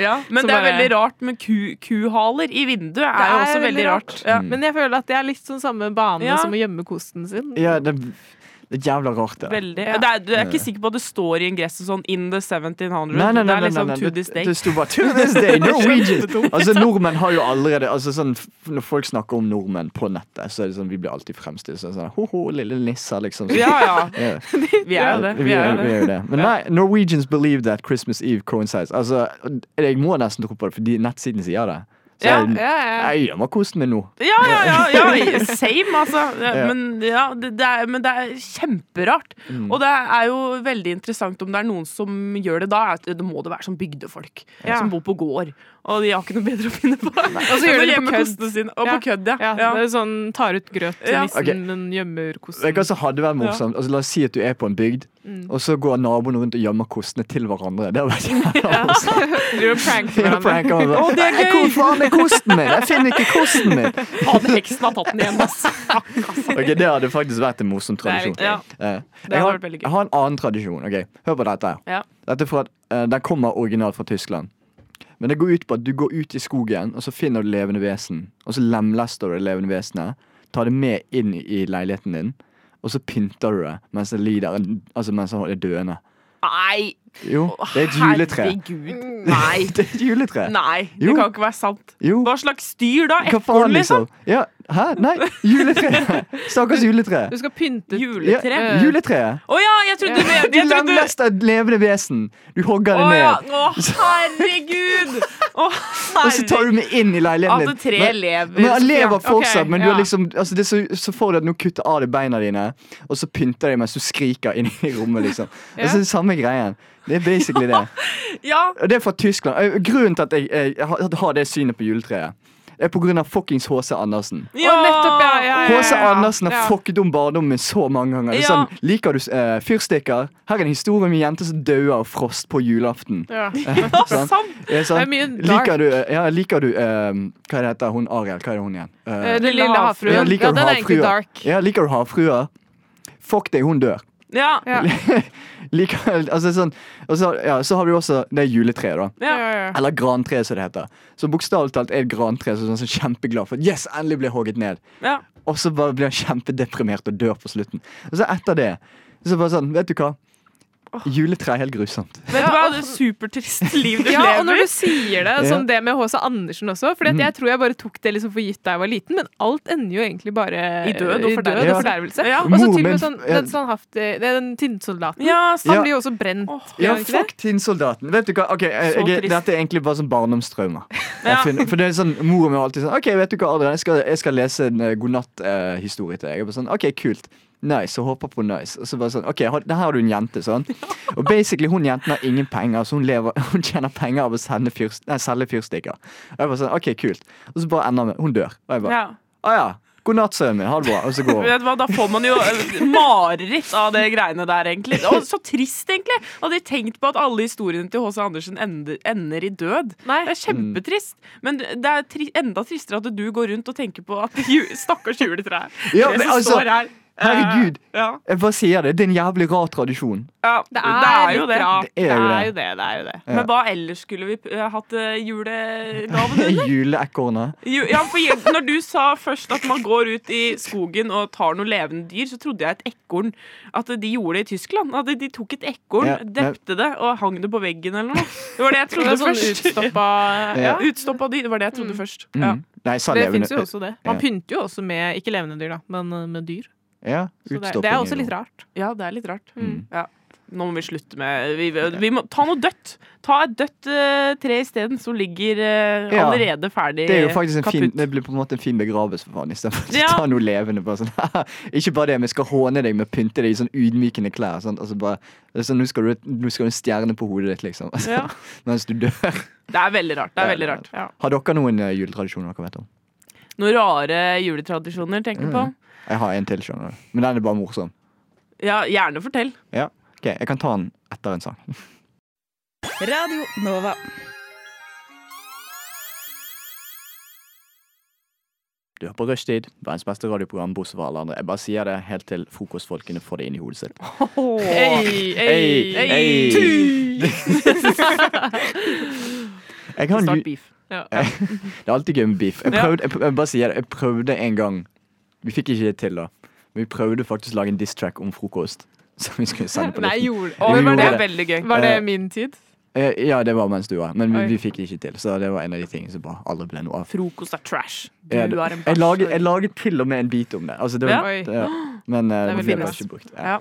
Ja, men
Så
det er
bare-
veldig rart med ku, kuhaler i vinduet. er, jo også veldig rart. Ja.
Mm.
Men jeg føler at det er litt sånn samme bane
Ja.
som å gjemme kosten sin.
ja det, det er jævla rart det.
Veldig. Det er, du er ikke sikker på at det står i ingressen sånn 'in the 1700'.
Nei, nei, nei,
det er
nei,
liksom
nei, nei.
to this day.
Det, det sto bare 'to this day'. Norwegians. altså, nordmenn har jo allerede altså, sånn, f- Når folk snakker om nordmenn på nettet, så er det sånn, vi blir alltid fremstilt som sånn, ho-ho, lille nisser, liksom. Så-
Ja, ja.
Ja.
Vi er jo det.
Vi er vi er jo det. Men nei, Norwegians believe that Christmas Eve coincides. Altså, jeg må nesten tro på det, fordi nettsiden sier det. Så
Ja,
jeg,
Ja, ja.
jeg gjemmer kosten min nå.
Ja, ja, ja, ja. Same, altså.
Ja.
Men, ja, det, det er, men det er kjemperart.
Mm.
Og det er jo veldig interessant om det er noen som gjør det da. er at Det må det være sånn bygdefolk
Ja.
som bor på gård. Og de har ikke noe bedre å finne på.
Og så gjør de det på
hjemme
kødd.
kostene sine. Og
Ja.
på kødd, ja.
Ja,
ja.
Det er sånn tar ut grøt til
Ja.
nissen,
Ok.
men gjemmer kosten.
Vet du hva som hadde vært morsomt? Altså, la oss si at du er på en bygd,
Mm.
og så går naboen rundt og gjemmer kostene til hverandre. Det hadde vært jævla morsomt.
Driver og pranker
Ja,
hverandre.
pranker meg.
det er
Nei,
gøy!
Hvor faen er kosten min? Jeg finner ikke kosten min!
Faen, heksen har tatt den igjen, ass.
Ok, Det hadde faktisk vært en morsom tradisjon.
Ja.
Eh,
hadde
jeg, har,
vært veldig gøy.
jeg har en annen tradisjon. ok? Hør på dette.
Ja.
Dette er for at eh, Den kommer originalt fra Tyskland. Men det går ut på at du går ut i skogen, og så finner du levende vesen. Og så lemlester du det levende vesenet, tar det med inn i leiligheten din, og så pynter du det mens det lider, altså mens det er døende.
Nei!
Jo, det er et juletre.
Herregud. Nei.
Det er et juletre.
Nei, det
Jo.
kan ikke være sant.
Jo.
Hva slags dyr, da?
Hva faen,
Ekorn, liksom?
liksom? Ja, hæ? Nei, juletre. Stakkars juletre.
Du skal pynte
Juletre?
Ja, juletreet.
Å ja, jeg trodde du mente
Du
jeg trodde-
lemlester et levende vesen. Du hogger det
Å ja.
ned.
Å, herregud! Å,
Og så tar
herregud.
du med inn i
At
leiligheten din.
det tre
Men-
lever.
Men han
Ja,
lever
ok,
fortsatt, men du
ja.
er liksom, altså det er så, så får du at nå kutter av deg beina dine, og så pynter de mens du skriker inn i rommet, liksom. Altså, det er samme greien. Det er basically det.
Ja,
Og det er fra Tyskland. Eh, Grunnen til at jeg, eh, jeg har- har det synet på juletreet, er på grunn av fuckings H.C. Andersen.
ja.
nettopp, ja, ja, Eh, ja.
H.C. Andersen har
Ja.
fucket om barndommen min så mange ganger. Det er
Ja.
sånn, Liker du eh, fyrstikker? Her er en historie om en jente som dauer av frost på julaften.
Ja.
sant?
sant.
Det er sant.
Det er mye dark.
liker du, eh, ja, liker du ehm, Hva er det heter hun Ariel? Hva er det hun igjen? Eh,
Eh, Den lille
ja,
havfruen. Ja,
liker
den
du
er egentlig
havfrua?
dark.
Ja, liker du havfrua? Fuck deg, hun dør.
Ja.
Ja.
Liker, altså sånn, og så, ja, så har du også det juletreet, da.
Ja,
Ja.
ja, ja.
Eller grantreet, som det heter. Så bokstavelig talt er et grantre som er sånn kjempeglad for at yes, endelig ble jeg hogget ned.
ja.
Og så bare blir han kjempedeprimert og dør på slutten. Og så etter det så bare sånn, vet du hva? Juletre er helt grusomt.
Vet du hva,
Ja,
det er supertrist liv du
Ja, og når
lever.
du sier det,
Ja. Mm.
sånn det med H.C. Andersen også, for jeg tror jeg bare tok det liksom for gitt da jeg var liten, men alt ender jo egentlig bare
I død og fordervelse.
død og fordervelse.
Ja.
Og så
Mor
til og
min-
med sånn, den, sånn haft, det er den tinnsoldaten,
Ja,
han
Ja.
blir jo også brent.
Åh,
blir
Ja,
han ikke det?
fuck tinnsoldaten. Vet du hva? Ok, eh, jeg,
Så
jeg,
trist.
dette er egentlig bare sånn barndomstraumer. Jeg
Ja.
finner- For det er sånn, Mor mi var alltid sånn OK, vet du hva, Adrian, jeg skal, jeg skal lese en uh, godnatthistorie til deg. Jeg bare sånn, OK, kult. Nice. Og håper på nice. Og så bare sånn, OK, har- der har du en jente, sånn. Og basically, hun jenten har ingen penger, så hun, lever, hun tjener penger av å sende fyrs- nei, selge fyrstikker. Og jeg bare sånn, OK, kult. Og så bare ender med Hun dør. Og jeg bare Å ja.
ja.
God natt, sønnen min. Ha det bra. Og så går hun.
Vet du hva, da får man jo eh, mareritt av det greiene der, egentlig. Og så trist, egentlig. Hadde jeg tenkt på at alle historiene til H.C. Andersen ender, ender i død.
Nei.
Det er kjempetrist. Men det er tri enda tristere at du går rundt og tenker på at ju stakkars juletre er
Ja,
det
men
som
altså,
står her. Eh,
herregud.
Ja,
Jeg bare sier det. Det er en jævlig rar tradisjon.
ja,
Det er,
jo det.
Rart.
Det er jo det.
det, det er jo det.
Men hva ellers skulle vi eh, hatt eh, julegaven under?
Juleekornet.
Jo, Ja, for jeg- når du sa først at man går ut i skogen og tar noe levende dyr, så trodde jeg et ekorn At de gjorde det i Tyskland. At de tok et ekorn,
Ja, men-
drepte det og hang det på veggen eller noe. Det var det jeg
Det
trodde
er sånn
først.
utstoppa
Ja,
ja.
Utstoppa dyr. Det var det jeg trodde først. Ja.
Mm. Nei, sa
Det
levende-
fins jo også det. Man
Ja.
pynter jo også med ikke levende dyr, da, men eh, med dyr.
Ja,
Så det, er-
utstopping
det er også
jo-
litt rart.
ja, det er litt rart.
Mm.
Ja. Nå må vi slutte med Vi, vi må ta noe dødt. Ta et dødt eh, tre isteden, som ligger eh,
Ja.
allerede ferdig
Det er jo faktisk en fin,
kaputt.
det blir på en måte en fin begravelse, for faen. Istedenfor å
Ja.
ta noe levende. Bare sånn. Ikke bare det, men jeg skal håne deg med å pynte deg i sånn ydmykende klær. Sånn, altså bare, det er sånn, nå, skal du, nå skal du ha en stjerne på hodet ditt, liksom. Altså,
Ja.
Mens du dør.
Det er veldig rart. Det er
Det er
veldig rart. Ja.
Har dere noen eh, juletradisjoner dere vet om?
Noen rare juletradisjoner
Mm.
tenker du på?
Jeg har en til, skjønner du. Men den er bare morsom.
Ja, gjerne fortell.
Ok, Jeg kan ta den etter en sang.
Radio Nova.
Du hører på Rushtid, verdens beste radioprogram, bortsett fra alle andre. Jeg bare sier det helt til frokostfolkene får det inn i hodet sitt.
Ei,
ei, ei. ei. Jeg har en ju-
Start beef.
Det er alltid gøy med beef. Jeg
Ja.
prøvde, jeg, pr- jeg bare sier det, jeg prøvde en gang Vi fikk ikke det til, da. Men vi prøvde faktisk å lage en diss-track om frokost. Som vi skulle sende på
Nei,
luften.
gjorde,
Å,
Vi
men det
gjorde
er veldig gøy.
Var det
Eh,
min tid?
Eh, Ja, det var mens du var her, men vi,
Oi.
vi fikk det ikke til. Så det var en av de tingene som bare aldri ble noe av.
Frokost er trash. Du
Ja,
er
det-
en
Jeg laget,
bæsj.
jeg laget til og med en bit om det. Altså, det var,
Ja.
det- ja. Men eh, det
veldig
ble
bra.
bare ikke brukt.
Ja.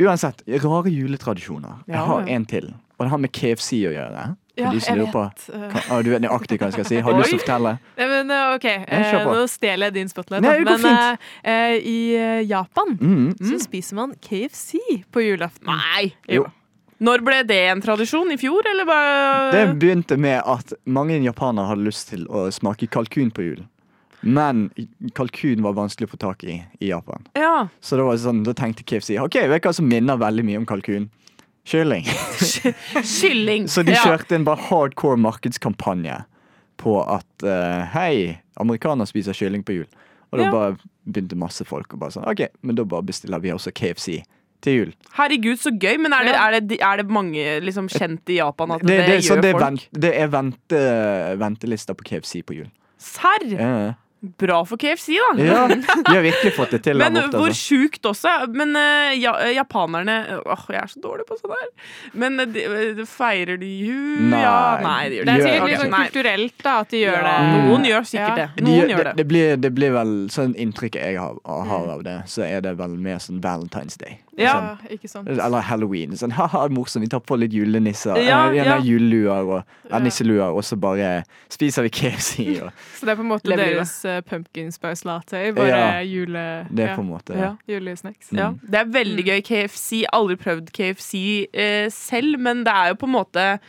Uansett, rare juletradisjoner. Jeg
Ja,
har
ja.
en til, og det har med KFC å gjøre. For
Ja,
de som
jeg
lurer på
eh.
hva- ah, Du vet nøyaktig hva jeg skal si? Har du lyst til å fortelle?
Nei, men eh, OK, eh,
kjør på.
nå stjeler jeg din spotlight.
Nei,
da.
det går
men eh, eh, i eh, Japan
Mm.
så spiser man KFC på julaften.
Nei!
Jo.
Når ble det en tradisjon? I fjor, eller? hva-
Det begynte med at mange japanere hadde lyst til å smake kalkun på julen. Men kalkun var vanskelig å få tak i i Japan.
Ja.
Så da, var det sånn, da tenkte KFC ok, vet du hva som minner veldig mye om kalkun. Kylling.
Kylling.
Så de
Ja.
kjørte en bare hardcore markedskampanje på at eh, hei, amerikanere spiser kylling på jul. Og da
Ja.
bare begynte masse folk å bare sånn OK, men da bare bestiller vi også KFC til jul.
Herregud, så gøy. Men er det,
Ja.
er det, er det mange liksom, kjent i Japan at det,
Det, det, er sånn,
gjør
det, er,
folk?
vent, det er vente, ventelister på KFC på jul.
Serr!
Ja,
Bra for KFC, da.
Ja, de har virkelig fått det til. der
Men
borte,
hvor
altså.
sjukt også. Men eh, ja, eh, japanerne Åh, jeg er så dårlig på sånn her. Men eh, de, eh, feirer de jul?
Nei.
Ja. Nei, de gjør
Det er
Gjør-
sikkert
ok,
litt sånn
Nei.
kulturelt da, at de gjør
Ja.
det.
Noen gjør sikkert
Ja.
det.
de,
Noen
gjør-
gjør
det,
det. Mm.
det, blir, det blir vel sånn inntrykket jeg har, har av det, så er det vel mer sånn Valentine's Day.
Ja.
Sånn.
ikke sant.
Eller halloween. Sånn ha-ha, morsomt, vi tar på litt julenisser.
Ja,
eh, gjerne
ja.
juleluer og eh, nisseluer, og så bare spiser vi KFC. Og
Så det er på en måte
Lever livet.
deres eh, pumpkin spice latte, bare
Ja.
jule,
det er Mm.
ja,
på en måte
Ja.
julesnacks.
Ja, det er veldig gøy. KFC. Aldri prøvd KFC eh, selv, men det er jo på en måte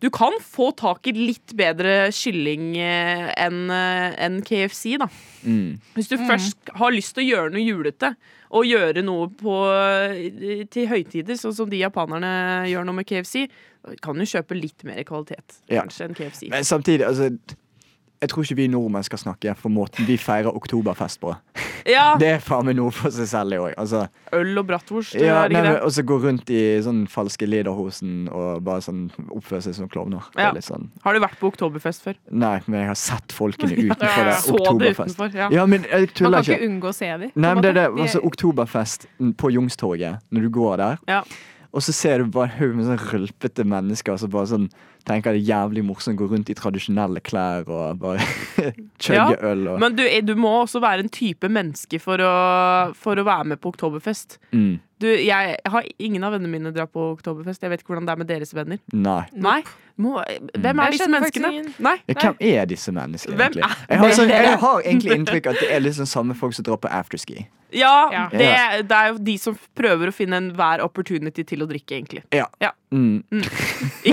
Du kan få tak i litt bedre kylling eh, enn eh, enn KFC, da.
mm.
Hvis du først har lyst til å gjøre noe julete, og gjøre noe på, eh, til høytider, sånn som de japanerne gjør nå med KFC, da kan du kjøpe litt mer kvalitet
Ja.
kanskje enn KFC.
Men samtidig, altså jeg tror ikke vi nordmenn skal snakke for måten vi feirer oktoberfest på.
Ja,
Det er faen meg noe for seg selv i år. Altså,
øl og bratwurst.
ja,
er det
nei,
ikke
men
det?
og så gå rundt i sånn falske lederhosen og bare sånn oppføre seg som klovner. Det
Ja.
er litt sånn
Har du vært på oktoberfest før?
Nei, men jeg har sett folkene utenfor det.
Så det
Oktoberfest.
utenfor. Ja.
Ja, men jeg
Man
tuller
kan ikke
ikke.
unngå å se dem.
altså, Nei, men det er det. Altså, oktoberfest på Youngstorget, når du går der.
Ja.
Og så ser du bare en haug med sånn rølpete mennesker som bare sånn tenker det er jævlig morsomt å gå rundt i tradisjonelle klær og bare chugge øl og
Men du, er- du må også være en type menneske for å, for å være med på Oktoberfest.
mm,
Du, jeg har ingen av vennene mine drar på Oktoberfest. Jeg vet ikke hvordan det er med deres venner.
Nei.
Nei, må, Hvem
Jeg
er disse
kjenner faktisk
menneskene?
ingen.
Nei.
Ja, Hvem er disse menneskene,
Hvem
egentlig?
er
Jeg har, sånn,
dere?
jeg har egentlig inntrykk av at det er liksom samme folk som drar på afterski.
Ja,
Ja.
det, det er jo de som prøver å finne enhver opportunity til å drikke, egentlig.
Ja.
Ja.
Mm.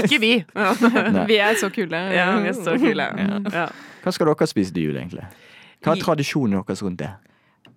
Ikke vi. Ja,
Nei.
Vi er så kule.
vi er så kule. Ja.
Hva skal dere spise til jul, egentlig? Hva er tradisjonen deres rundt det?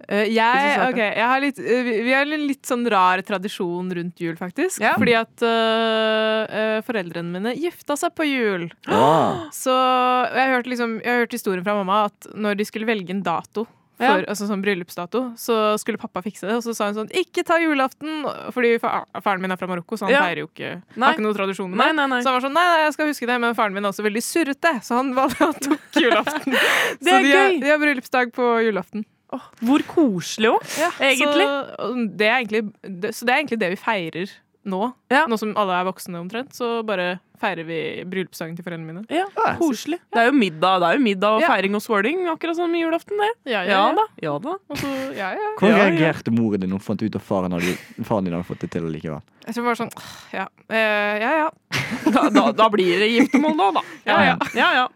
Eh,
Hvis du
jeg,
svarte.
ok, jeg har litt, eh, vi- vi har en litt sånn rar tradisjon rundt jul, faktisk.
Ja.
Fordi at eh, eh, foreldrene mine gifta seg på jul.
Ah,
Så og jeg har hørt, liksom, jeg har hørt historien fra mamma at når de skulle velge en dato, for,
Ja.
altså sånn bryllupsdato, så skulle pappa fikse det. Og så sa hun sånn 'ikke ta julaften', fordi fa faren min er fra Marokko, så han
Ja.
feirer jo ikke
Nei.
Har ikke noen tradisjon med
Nei,
det.
nei, nei.
Så han var sånn 'nei, nei, jeg skal huske det', men faren min er også veldig surrete, så han, valgte- han tok julaften.
Det
så
er
de har,
gøy.
de har bryllupsdag på julaften.
Åh, Hvor koselig òg, egentlig.
Så og det, er egentlig det, så det er egentlig det vi feirer nå.
Ja.
Nå som alle er voksne omtrent, så bare feirer vi bryllupsdagen til foreldrene mine.
Ja, koselig. Det er jo middag det er jo middag og
Ja.
feiring og swirling, akkurat som i julaften. det.
Ja,
Ja da. ja da.
Og så, ja, ja.
Hvordan
Ja, ja.
reagerte moren din når hun fant ut at faren, hadde, faren din hadde fått det til likevel?
Jeg tror bare sånn «Åh, Ja, eh, ja. ja.
Da, da, da blir det giftermål nå, da. Ja, ja.
Ja.
ja, ja.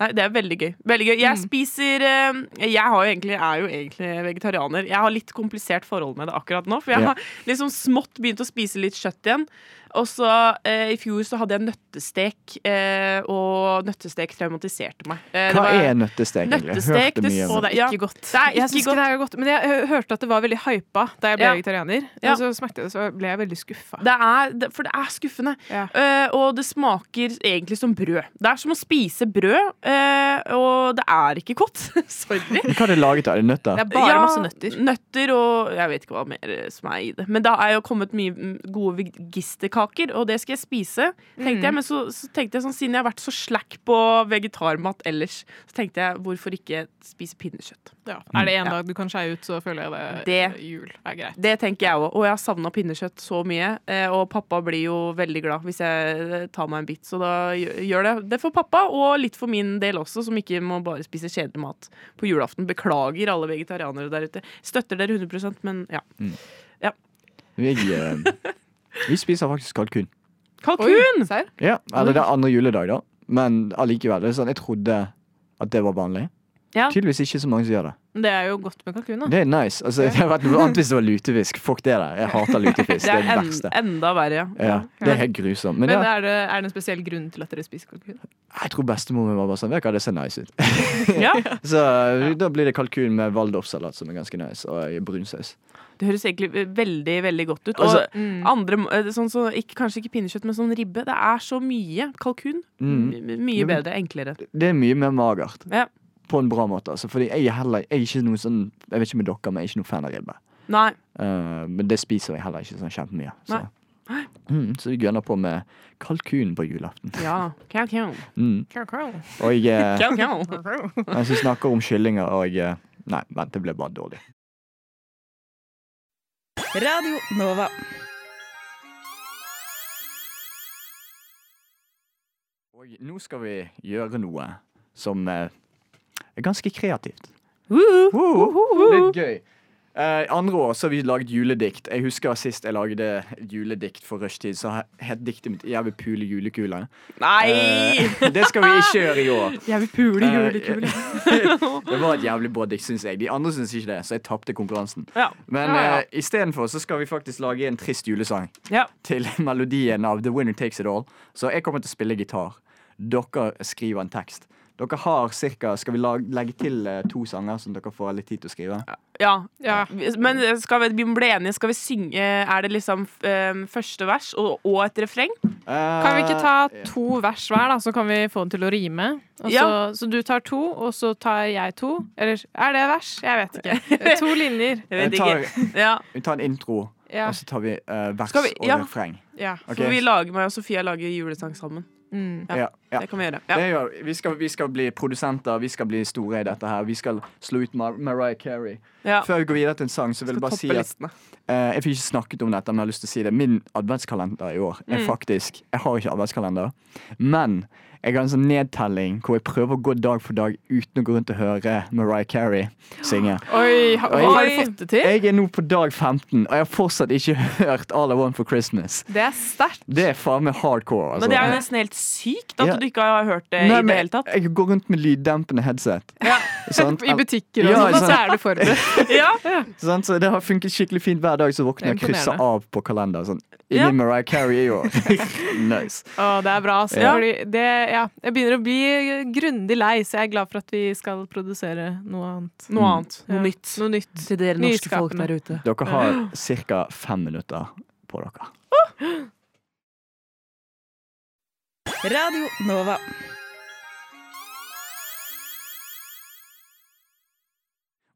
Nei, det er veldig gøy. Veldig gøy. Jeg spiser eh, Jeg har jo egentlig, er jo egentlig vegetarianer. Jeg har litt komplisert forhold med det akkurat nå. For jeg
Ja.
har liksom smått begynt å spise litt kjøtt igjen. Og så eh, I fjor så hadde jeg nøttestek, eh, og nøttestek traumatiserte meg. Eh, det
Hva
var-
er nøttestek, egentlig? Jeg Hørte
Nøttestek, det
mye
så
om det.
det. Ja.
godt.
Det er
jeg
ikke
synes ikke
godt.
det er godt. Men jeg hø- hørte at det var veldig hypa da jeg ble
Ja.
vegetarianer.
Ja.
Og så smakte det, så ble jeg veldig skuffa.
Det er, det, for det er skuffende.
Ja.
Eh, og det smaker egentlig som brød. Det er som å spise brød, eh, og det er ikke godt. Sorry.
Men hva er det laget av? Er det nøtter?
er bare
Ja,
masse nøtter.
Nøtter og jeg vet ikke hva mer eh, som er i det. Men da er jo kommet mye mm, gode vegisterkaker, og det skal jeg spise. Tenkte
Mm.
jeg, Men så, så tenkte jeg sånn, siden jeg har vært så slack på vegetarmat ellers, så tenkte jeg hvorfor ikke spise pinnekjøtt.
Ja. Er det en dag du kan skeie ut, så føler jeg det,
Det-
jul er greit.
Det tenker jeg òg. Og jeg har savna pinnekjøtt så mye. eh, Og pappa blir jo veldig glad hvis jeg tar meg en bit, så da gjø- gjør det. Det for pappa, og litt for min del også, som ikke må bare spise kjedelig mat på julaften. Beklager alle vegetarianere der ute. Støtter dere 100 men ja.
Vi, eh, vi spiser faktisk kalkun.
Kalkun!
Serr?
Ja, eller det er andre juledag, da. Men allikevel. Det er sånn, jeg trodde at det var vanlig.
Ja.
Tydeligvis ikke så mange som gjør det.
Det er jo godt med kalkun, da.
Det er nice. Altså, det hadde vært noe annet hvis det var lutefisk. Fuck det der. Jeg hater lutefisk. Det er det
en-
verste.
enda verre, ja.
Ja, det er helt grusomt. Men
Men
ja,
er det, er det en spesiell grunn til at dere spiser kalkun?
jeg tror bestemor min var bare sånn Vet du hva, det ser nice ut.
ja.
Så eh, da blir det kalkun med waldorfsalat, som er ganske nice, og brunsaus.
Det høres egentlig ve- veldig veldig godt ut. Og
Altså-
andre, eh, sånn, så, ikke, kanskje ikke pinnekjøtt, men sånn ribbe. Det er så mye. Kalkun.
Mm.
M- Mye
Ja, men-
bedre. Enklere.
Det er mye mer magert.
Ja.
På en bra måte. Altså, fordi jeg er heller jeg er ikke noe sånn Jeg vet ikke med dere, men jeg er ikke noe fan av ribbe.
Nei.
Eh, men det spiser jeg heller ikke sånn kjempemye. Så.
Nei.
Mm, så vi gønner på med kalkun på julaften.
Ja. Kalkun.
Mm.
Kalkun.
Og eh,
Kalkun.
mens vi snakker om kyllinger og eh, Nei, vent, det ble bare dårlig.
Radio Nova.
Og nå skal vi gjøre noe som eh, er ganske kreativt.
Woohoo.
Litt gøy. Eh, andre år så har vi laget juledikt. Jeg husker sist jeg lagde juledikt for rushtid, så het diktet mitt 'Jeg vil pule julekula'.
Nei!
Eh, det skal vi ikke gjøre i år.
Jeg vil pule
julekule. Eh, Det var et jævlig bra dikt, syns jeg. De andre syns ikke det, så jeg tapte konkurransen.
Ja.
Men
Ja, ja.
eh, istedenfor så skal vi faktisk lage en trist julesang
Ja.
til melodien av The Winner Takes It All. Så jeg kommer til å spille gitar. Dere skriver en tekst. Dere har cirka, Skal vi lag, legge til eh, to sanger som dere får litt tid til å skrive?
ja.
Ja.
Men eh, skal vi, vi må bli enige. Skal vi synge Er det liksom eh, første vers og, og et refreng?
Eh,
Kan vi ikke ta to vers hver, da, så kan vi få den til å rime? Og så,
Ja.
så du tar to, og så tar jeg to. Eller er det vers? Jeg vet ikke. To linjer.
Jeg vet
tar,
ikke. Ja.
Vi tar en intro,
Ja.
og så tar vi eh, vers
Skal vi- ja.
og refreng.
ja.
Ok?
For vi lager, meg og Sofia lager julesang sammen.
Mm.
ja.
Ja, ja.
Det kan vi gjøre.
Det
Ja.
gjør vi. Vi skal, vi skal bli produsenter, vi skal bli store i dette her. Vi skal slå ut Mar Mariah Carey.
Ja.
Før vi går videre til en sang, så vil jeg bare si at
listene.
eh, Jeg fikk ikke snakket om dette, men jeg har lyst til å si det. Min adventskalender i år
Mm.
er faktisk Jeg har ikke adventskalender, men jeg har en sånn nedtelling hvor jeg prøver å gå dag for dag uten å gå rundt og høre Mariah Carey synge.
Oi, har,
Oi.
har du fått det til?
Jeg er nå på dag 15, og jeg har fortsatt ikke hørt All I Want for Christmas.
Det er sterkt.
Det er faen meg hardcore. Altså.
Men det er jo nesten helt sykt at
Ja.
du ikke har hørt det
Nei,
i det
men
hele tatt.
Jeg går rundt med lyddempende headset. Sant?
I butikker og
Ja,
sånn, og så
sant.
er du forberedt.
Ja.
Sant? Så det har funket skikkelig fint hver dag. Så våkner jeg
Det
og
er
krysser
imponerende.
av på kalenderen. Sånn. Ingen
Ja.
Mariah Carey i år. nice.
Å, det er bra. Altså,
Ja.
fordi det, ja, jeg begynner å bli grundig lei, så jeg er glad for at vi skal produsere noe annet. Mm.
Noe annet.
Ja.
Noe nytt.
Noe nytt.
Til dere
norske folk der
ute.
Dere har ca. fem minutter på dere.
Radio Nova.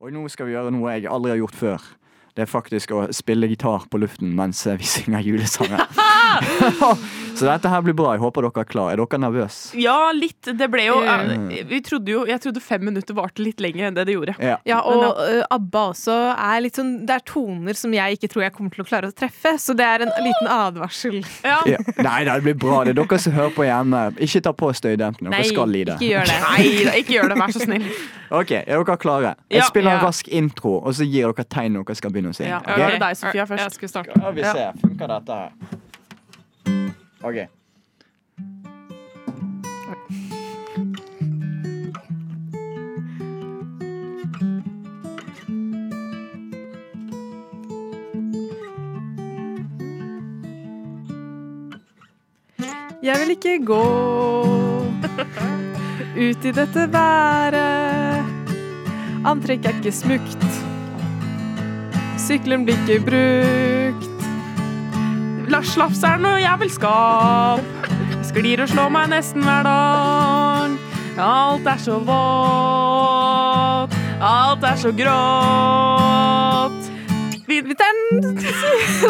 Og nå skal vi gjøre noe jeg aldri har gjort før. Det er faktisk å spille gitar på luften mens vi synger julesanger. så dette her blir bra. Jeg håper dere er klar. Er dere nervøse?
Ja, litt. Det ble jo eh,
Mm.
Vi trodde jo Jeg trodde fem minutter varte litt lenger enn det det gjorde.
Ja.
Ja, og ø, ABBA også er litt sånn Det er toner som jeg ikke tror jeg kommer til å klare å treffe, så det er en liten advarsel.
Ja.
Ja. Nei, det blir bra. Det er dere som hører på hjemme. Ikke ta på støydempende. Dere skal lide.
ikke gjør det.
Nei, da, ikke gjør det, vær så snill.
Ok, Er dere klare? Jeg
Ja.
spiller en
Ja.
rask intro, og så gir dere tegn når dere skal begynne å synge.
Ja,
ok?
Da er det deg, Sofia,
Jeg
først.
skulle starte.
Ja, vi ser. Funker dette her? OK.
Jeg vil ikke gå ut i dette været. Antrekk er ikke smukt. Sykkelen blir ikke brukt.
La slaps er noe jeg vil skap. Sklir og slår meg nesten hver dag. Alt er så vått. Alt er så grått. Vinteren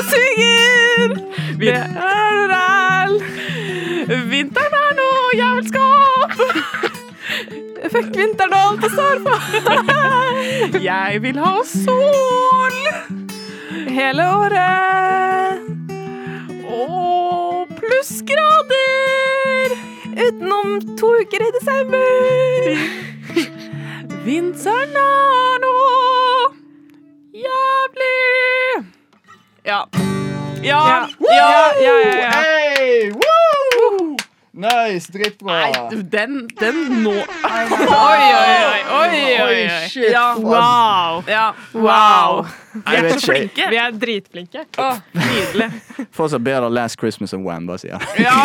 synger. Vinteren er ræl. Vinteren er noe jeg vil skape.
Fuck vinteren og alt det står på.
Jeg vil ha sol
Hele året.
og plussgrader.
Utenom to uker i desember.
Vinteren er nå jævlig. Ja. Ja.
Ja.
ja, ja, ja, ja.
Hey, woo! Nice, dritbra.
Nei, den, den nå
Oi, oi, oi. oi, oi, oi.
shit.
Ja,
Wow.
ja. Wow.
Jeg
Vi er
vet
så
ikke.
flinke.
Vi er dritflinke.
Nydelig.
Fortsatt bedre enn Last Christmas enn Wham, bare sier jeg.
Ja.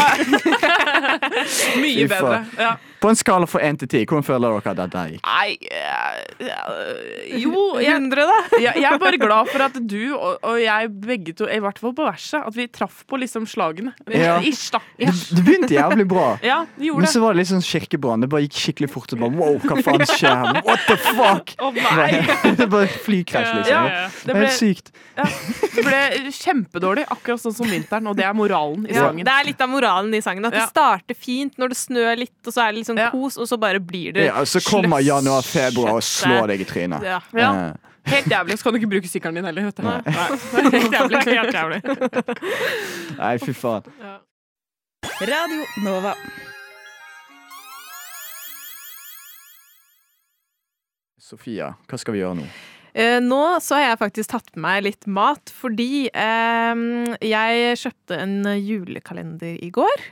Fy
Mye
faen.
bedre. Ja.
På en skala fra én til ti, hvordan føler dere at dette her gikk?
Nei eh, eh, Jo, jeg,
100, da.
jeg, jeg er bare glad for at du og, og jeg begge to, i hvert fall på verset, at vi traff på liksom slagene.
Ja.
Ish, da.
Det, det begynte jævlig bra.
Ja,
Men
vi gjorde det.
så var det litt sånn kirkebrann. Det bare gikk skikkelig fort. Og bare, wow, hva faen skjer her? What the fuck?
Å nei!
Det bare flykrasj, liksom.
Ja,
Det
det
er
ble,
helt sykt.
det ble kjempedårlig, akkurat sånn som vinteren, og det er moralen i
Ja,
sangen.
det er litt av moralen i sangen. At
Ja.
det starter fint når det snør litt, og så er det litt sånn
Ja.
kos, og så bare blir det
Ja, så kommer
sløss-
januar, februar og slår
kjøttet.
deg i trynet.
Ja.
Ja,
Eh,
helt jævlig. Så kan du ikke bruke sykkelen din heller. Vet du. Nei, Helt jævlig. Helt jævlig.
Nei, fy faen.
Radio Nova.
Sofia, hva skal vi gjøre nå?
Eh, nå så har jeg faktisk tatt med meg litt mat, fordi eh, jeg kjøpte en julekalender i går.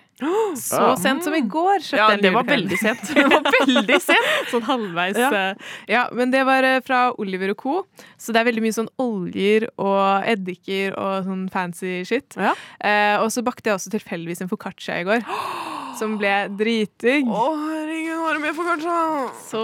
Så
Ah.
sent som i går kjøpte
Mm. Ja,
jeg en
det var
julekalender.
veldig sent. Det var veldig sent.
sånn halvveis
Ja.
eh, ja, men det var eh, fra Oliver og co. Så det er veldig mye sånn oljer og eddiker og sånn fancy shit.
Ja.
Eh, og så bakte jeg også tilfeldigvis en foccaccia i går, som ble dritdigg.
Å, herregud, har du med for kanskje?
Så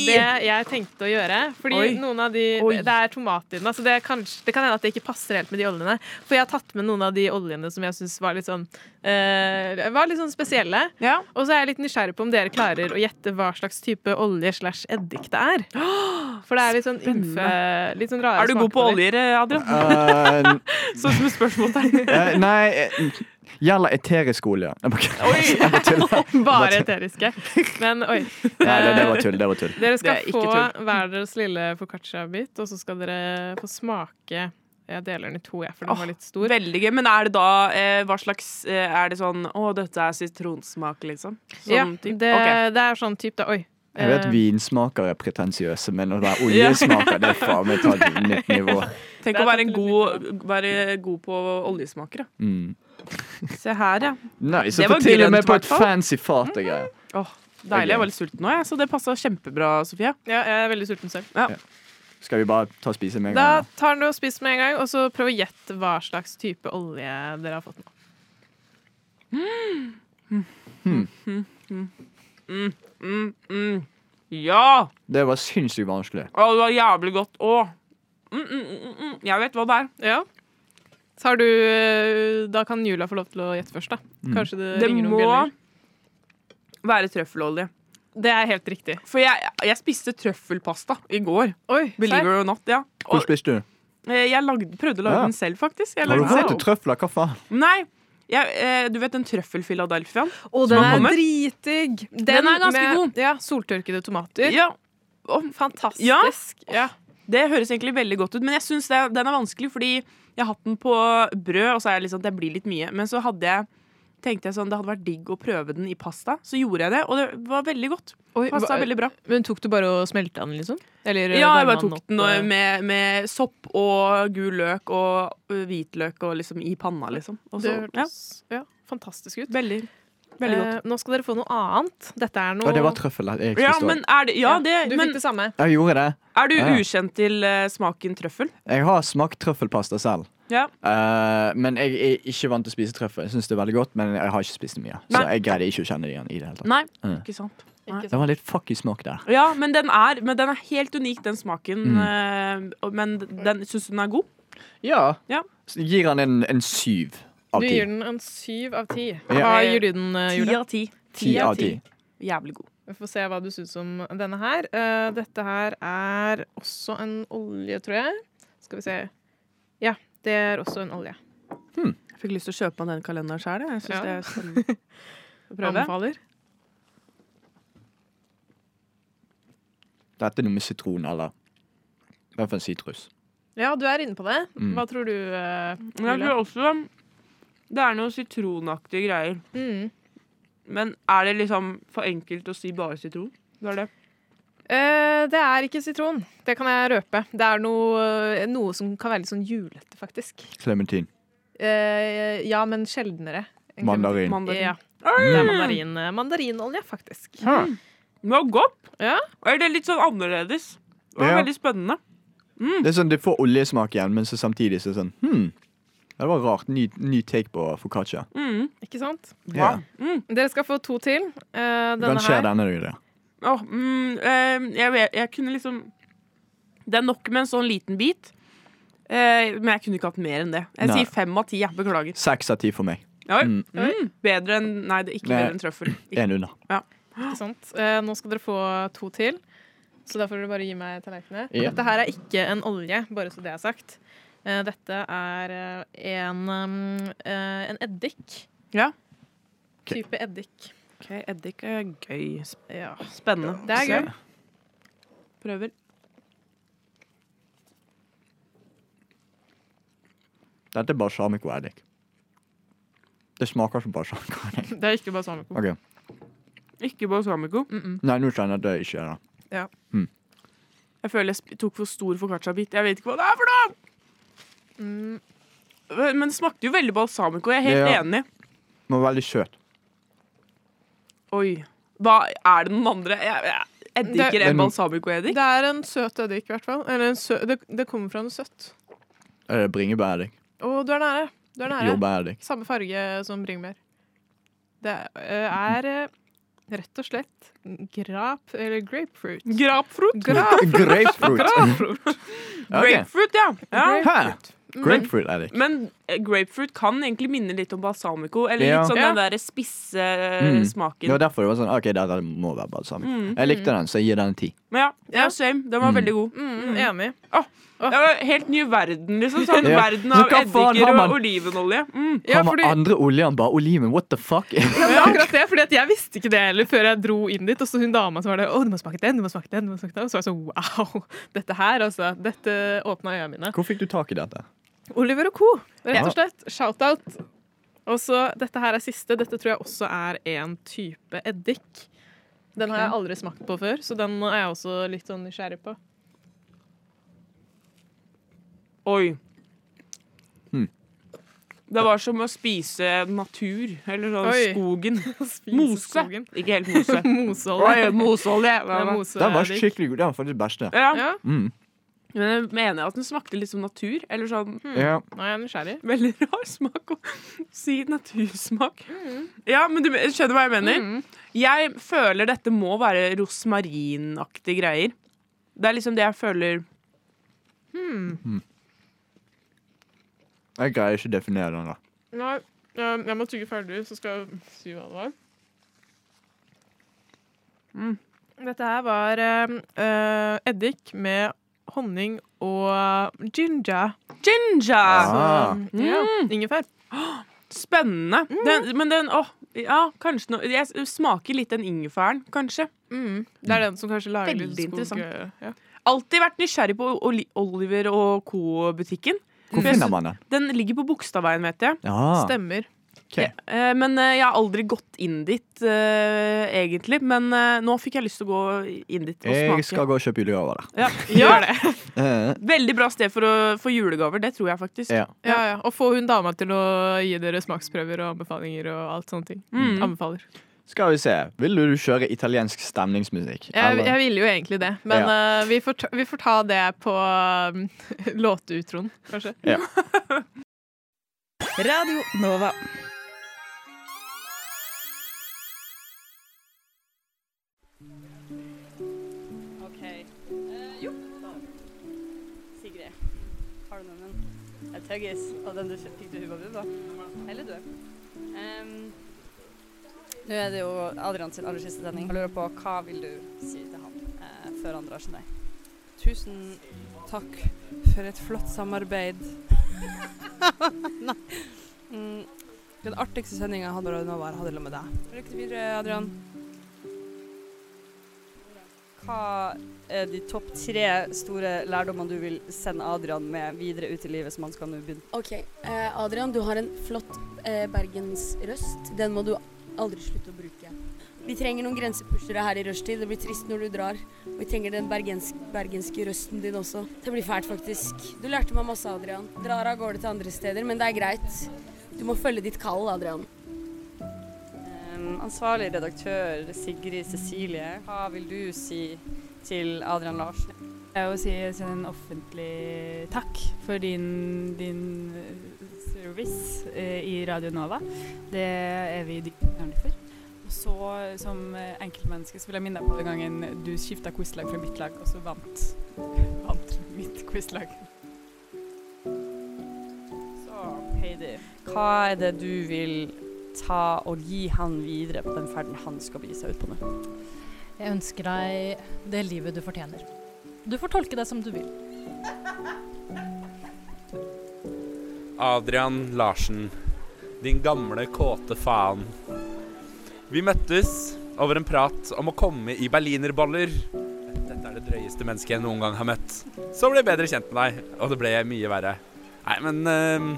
det jeg tenkte å gjøre Fordi
Oi.
noen av de
Oi.
Det er tomat i den, da, så det, er kanskje, det kan hende at det ikke passer helt med de oljene. For jeg har tatt med noen av de oljene som jeg syns var litt sånn eh, Var litt sånn spesielle.
Ja.
Og så er jeg litt nysgjerrig på om dere klarer å gjette hva slags type olje slash eddik det er. For det er litt sånn ymfe Litt sånn rare
Er du god på
smaker det.
oljer, Adrian?
Eh,
Sånn som et spørsmålstegn.
Eh, nei, eh, gjelder eterisk olje. Jeg bare kødder. Jeg bare tuller.
Bare eteriske. Men oi.
Nei, det, det var tull. Det var tull.
Dere
Det
skal
er ikke
få
tull.
hver deres lille foccaccia-bit, og så skal dere få smake Jeg deler den i to, jeg, for den
Åh,
var litt stor.
Veldig gøy. Men er det da eh, hva slags eh, Er det sånn Å, dette er sitronsmak, liksom? Sånn
ja,
typ?
Det,
Ok.
det er sånn type, da. Oi.
Jeg vet
Eh,
vinsmaker er pretensiøse, men å være oljesmaker, det er faen meg tatt til et nytt nivå.
Tenk å
det er
være en
litt
god, være god på oljesmaker, da.
Mm.
Se her, ja.
Nei, så
Det var
for til og
grønt,
med på et
hvertfall.
fancy fat og greier.
Åh, deilig. Jeg var litt sulten nå, jeg, så det passa kjempebra, Sofie.
Ja, jeg er veldig sulten selv.
Skal vi bare ta og spise med en
Da
gang?
tar den du og spiser med en gang, og så prøv å gjette hva slags type olje dere har fått nå.
Mm, mm. Ja!
Det var sinnssykt vanskelig.
Å, det var jævlig godt. Å! Mm, mm, mm, mm. Jeg vet hva det er.
Ja. Så har du eh, Da kan Jula få lov til å gjette først, da.
Mm.
Kanskje det,
Det
ringer noen
må
bjeller.
være trøffelolje.
Det er helt riktig.
For jeg, jeg spiste trøffelpasta i går.
Oi,
Believer it or not. ja
Hvor
Og,
spiste du?
eh, Jeg lagde, prøvde å lage
Ja.
den selv, faktisk. Jeg
Har du
lagde
råd
den
til
selv.
trøfler? Hva faen?
Nei, jeg, eh, Du vet den trøffel-Philadelphiaen?
Og
den er
dritdigg! Den,
er ganske
med,
god.
Ja, Soltørkede tomater.
Ja,
Fantastisk. Ja.
Det høres egentlig veldig godt ut, men jeg syns den er vanskelig fordi jeg har hatt den på brød, og så er jeg litt sånn, det blir litt mye. Men så hadde jeg tenkte jeg sånn, Det hadde vært digg å prøve den i pasta. Så gjorde jeg det, og det var veldig godt.
Oi,
Pasta
hva-
er veldig bra.
Men tok du bare og smelta den, liksom? Eller
Ja, jeg
varma
bare tok
opp,
den
eh?
og med, med sopp og gul løk og ø, hvitløk og liksom i panna, liksom. Og så,
Det
ja,
hørtes ja. fantastisk ut.
veldig, veldig godt.
Eh, nå skal dere få noe annet. Dette er noe
Å, det var trøffel. Jeg
Ja,
forstår.
men er det, ja, det,
Du
men
fikk det samme.
Jeg gjorde det.
er du
Ah, Ja, ja.
ukjent til eh, smaken trøffel?
Jeg har smakt trøffelpasta selv.
Ja.
Eh, men jeg er ikke vant til å spise trøffel. Jeg synes det er veldig godt, men jeg har ikke spist det mye. Så
Nei.
jeg greide ikke å kjenne det igjen i det hele tatt.
Nei,
Mm.
ikke sant. Nei.
Ikke sant?
Det var litt fucky smak der.
Ja, men den er, men den er helt unik, den smaken. eh, og- men den syns du den er god?
Ja.
Ja.
Så Gir han en, en syv av
Du
ti.
gir den en syv av ti.
Ja.
Hva gir du den, eh,
Ti
Julia?
av ti.
Ti av ti.
Jævlig god.
Vi får se hva du syns om denne her. Eh, dette her er også en olje, tror jeg. Skal vi se. Ja, det er også en olje.
Jeg fikk lyst til å kjøpe meg den kalenderen sjøl. Jeg syns
Ja.
det er spennende å prøve.
Anbefaler.
Dette er noe med sitron eller i hvert fall sitrus.
Ja, du er inne på det.
Mm.
Hva tror du, eh,
Men jeg
Julia?
tror også det er noen sitronaktige greier.
Mm.
Men er det liksom for enkelt å si bare sitron? Det er det.
Eh, det er ikke sitron. Det kan jeg røpe. Det er noe, noe som kan være litt sånn julete, faktisk.
Clementin.
Eh, ja, men sjeldnere. enn
Mandarin.
clementin.
Mandarin.
Ja, det er mandarin, eh, mandarinolje, faktisk.
Mm. Det var godt.
Ja.
Er det litt sånn annerledes? Det var
Ja.
veldig spennende.
Det er sånn, Du får oljesmak igjen, men så samtidig så er det sånn hmm. Ja, Det var rart. Ny, ny take på foccaccia.
Mm.
Ikke sant?
Wow.
Ja.
Mm.
Dere skal få to til. Eh, denne
Ranger
her.
denne, du. det.
Åh, mm, eh, jeg, vet- jeg kunne liksom Det er nok med en sånn liten bit. Eh, men jeg kunne ikke hatt mer enn det. Jeg
Nei.
sier fem av ti. Jeg beklager.
Seks av ti for meg.
Oi.
Mm.
Mm. Bedre enn Nei, det er ikke
Nei.
bedre enn trøffel. Ikke.
Én under.
Ikke sant? Eh, nå skal dere få to til. Så da får dere bare gi meg tallerkenene.
Ja.
Dette her er ikke en olje, bare så det er sagt. Eh, dette er eh, en, um, eh, en eddik.
Ja.
Type eddik.
Ok, Eddik er gøy. Sp-
Ja.
Spennende.
Det er
Se.
gøy.
Prøver.
Dette er balsamico-eddik. Det smaker som balsamico-eddik.
Det er ikke sånn. balsamico.
Ok.
Ikke balsamico.
Nei, nå skjønner jeg at det ikke er det.
Jeg føler jeg sp- tok for stor foccaccia-bit. Jeg vet ikke hva det er for noe! Mm. Men det smakte jo veldig balsamico. Jeg er helt
Ja.
enig.
Den var veldig søt.
Oi. Hva er det noen andre? Jeg, jeg, eddiker
Det-
er
Men-
balsamico-eddik?
Det er en søt eddik, i hvert fall. Eller en sø det, det kommer fra noe søtt.
Eh, Bringebæreddik.
Å, du er nære. Du er nære.
Jordbæreddik.
Samme farge som bringebær. Det eh, er eh, rett og slett grap eller grapefruit.
Grapefruit.
Grap,
Grapefruit. Ok.
Grapefruit, ja. ja.
Hæ?
men
Grapefruit-eddik.
Men eh, grapefruit kan egentlig minne litt om balsamico. Eller
Ja.
litt sånn
Ja.
den der spisse
Mm.
eh,
Det
smaken.
var derfor det var sånn OK, dette må
Mm,
være balsamico. Jeg likte den, så jeg gir den en ti.
Men ja, ja,
Ja.
same. Den var
Mm.
veldig god.
mm, enig.
Det var en helt ny verden, liksom. Sånn
Ja.
verden
Så
av
hva faen
eddiker
har man-
og olivenolje. Mm.
Ja,
Har man
fordi, ja,
andre olje enn bare oliven? What the fuck?
det er akkurat det, fordi at jeg visste ikke det heller før jeg dro inn dit. Og så hun dama som var der, å, du må smake den, du må smake den. du må smake den. Og så var jeg sånn, wow, dette her, altså. Dette åpna øya mine.
Hvor fikk du tak i dette?
Oliver og co., rett
Ja.
og slett. Shout-out. Og så, dette her er siste. Dette tror jeg også er en type eddik. Den har jeg aldri smakt på før, så den er jeg også litt sånn nysgjerrig på.
Oi.
Hmm.
Det var som å spise natur, eller sånn
Oi.
skogen.
Spise
Mose.
skogen.
Ikke helt mose. Oi,
Moseolje.
moseolje.
Det er
Den var
moseeddik.
skikkelig god. Den var faktisk den beste.
Ja,
Ja,
Mm.
men jeg mener at den smakte litt som natur. Eller sånn
Mm.
Ja.
nå er jeg nysgjerrig.
veldig rar smak å si natursmak. Ja, men du skjønner hva jeg mener? Jeg føler dette må være rosmarinaktige greier. Det er liksom det jeg føler
Jeg greier ikke å definere den. da
Nei, jeg jeg må tygge ferdig, så skal jeg si hva det var. Dette her var eh, eh, eddik med honning og ginger.
Ginger!
Ah.
Ja, ingefær.
Spennende. Den, men den åh, ja, kanskje noe Jeg s- smaker litt den ingefæren, kanskje.
Det er den som kanskje lager
Veldig
litt skog...
interessant.
Ja.
Alltid vært nysgjerrig på Oli- Oliver og co.-butikken.
Hvor
Jeg
finner
sy-
man den?
Den ligger på Bogstadveien, vet jeg.
Ja.
Stemmer.
ok.
Eh, Men eh, jeg har aldri gått inn dit, eh, egentlig. Men eh, nå fikk jeg lyst til å gå inn dit og smake.
Jeg skal gå og kjøpe julegaver der.
ja, gjør det.
Eh,
Veldig bra sted for, å, for julegaver, det tror jeg faktisk.
Ja.
Ja, ja. Og få hun dama til å gi dere smaksprøver og anbefalinger og alt sånne ting.
Mm.
Anbefaler.
Skal vi se. Ville du kjøre italiensk stemningsmusikk?
Jeg,
Eller-
jeg ville jo egentlig det, men eh, vi, får ta, vi får ta det på um, låteutroen, kanskje.
Radio Nova.
Ok. Eh, jo. Sigrid. Har du noen? Jeg tøggis. Og den du f- fikk du Hubba Bubba? Eller du? Ehm, nå er det jo Adrian sin aller siste sending. Jeg lurer på hva vil du si til han eh, før han drar sin vei? Tusen takk for et flott samarbeid. Nei. Mm, den artigste sendinga jeg hadde på Radio Nova, hadde jeg med deg. Lykke til videre, Adrian. Hva er de topp tre store lærdommene du vil sende Adrian med videre ut i livet som han skal nå begynne?
Ok, eh, Adrian, du har en flott eh, bergensrøst. Den må du aldri slutte å bruke. Vi trenger noen grensepushere her i rushtid. Det blir trist når du drar. Og vi trenger den bergens bergenske røsten din også. Det blir fælt, faktisk. Du lærte meg masse, Adrian. Drar av gårde til andre steder, men det er greit. Du må følge ditt kall, Adrian.
Ehm, ansvarlig redaktør Sigrid Cecilie, hva vil du si til Adrian Larsen?
Jeg vil si send en offentlig takk for din, din eh, service eh, i Radio Nova. Det er vi dypt takknemlige for. Og så eh, som eh, enkeltmenneske så vil jeg minne deg på den gangen du skifta quizlag fra mitt lag, og så vant, vant mitt quizlag.
Så, Heidi, hva er det du vil ta og gi han videre på den ferden han skal begi seg ut på nå?
Jeg ønsker deg det livet du fortjener. Du får tolke deg som du vil.
Adrian Larsen, din gamle kåte faen. Vi møttes over en prat om å komme i berlinerboller. Dette er det drøyeste mennesket jeg noen gang har møtt. Så ble jeg bedre kjent med deg, og det ble mye verre. Nei, men eh,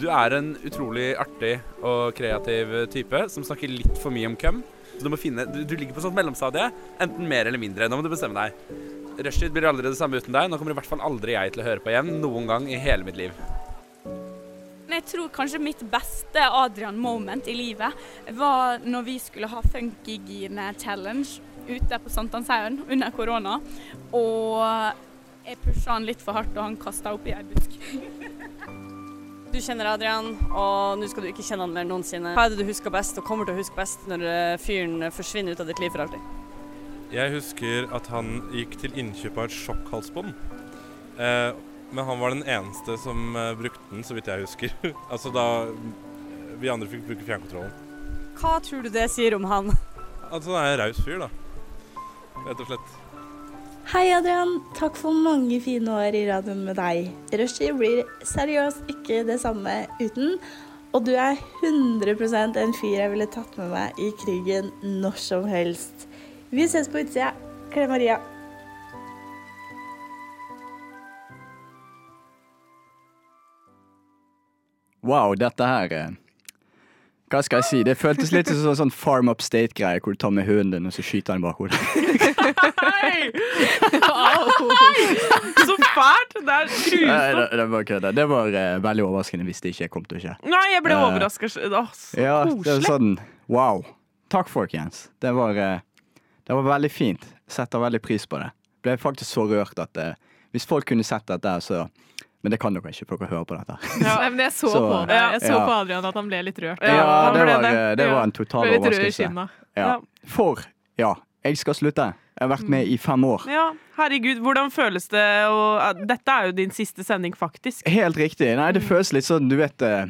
du er en utrolig artig og kreativ type som snakker litt for mye om køm. Så du må finne Du, du ligger på sånt mellomstadie, enten mer eller mindre. Nå må du bestemme deg. Rushtid blir aldri det samme uten deg. Nå kommer i hvert fall aldri jeg til å høre på igjen noen gang i hele mitt liv.
Men jeg tror kanskje mitt beste Adrian-moment i livet var når vi skulle ha Funkygine-challenge ute på Sankthanshaugen under korona. Og jeg pusha han litt for hardt, og han kasta opp i ei busk.
Du kjenner Adrian, og nå skal du ikke kjenne han mer enn noensinne. Hva er det du husker best, og kommer til å huske best når eh, fyren forsvinner ut av ditt liv for alltid?
Jeg husker at han gikk til innkjøp av et sjokkhalsbånd. Eh, men han var den eneste som eh, brukte den, så vidt jeg husker. altså da vi andre fikk bruke fjernkontrollen.
Hva tror du det sier om han?
Altså han er en raus fyr, da. Rett og slett.
Hei, Adrian. Takk for mange fine år i radioen med deg. Rushtid blir seriøst ikke det samme uten. Og du er 100 en fyr jeg ville tatt med meg i krigen når som helst. Vi ses på utsida. Klem Maria.
Wow, dette her eh, Hva skal jeg si? Det føltes litt som en sånn Farm Upstate-greie, hvor du tar med hunden din og så skyter han i bakhodet.
Så fælt! Det
Nei,
er grusomt.
det, det var kødda. Det var eh, veldig overraskende hvis det ikke kom til å skje.
Nei, jeg ble
Eh,
overraska. Så
Ja, det er
koselig.
sånn Wow. Takk, folkens. Det var, eh, det var veldig fint. Setter veldig pris på det. Ble faktisk så rørt at eh, Hvis folk kunne sett dette, her, så Men det kan dere ikke, for dere hører på dette.
Nei, men jeg så,
Så,
på det. Jeg så
ja.
på Adrian at han ble litt rørt.
Ja,
Han
det
ble
var, eh, det var en
Ble
total
litt rød i
overraskelse.
kinna.
Ja.
Ja.
For ja, jeg skal slutte. Jeg har vært med i fem år.
Ja, herregud, hvordan føles det å Dette er jo din siste sending, faktisk.
Helt riktig. Nei,
Mm.
det føles litt sånn, du vet eh,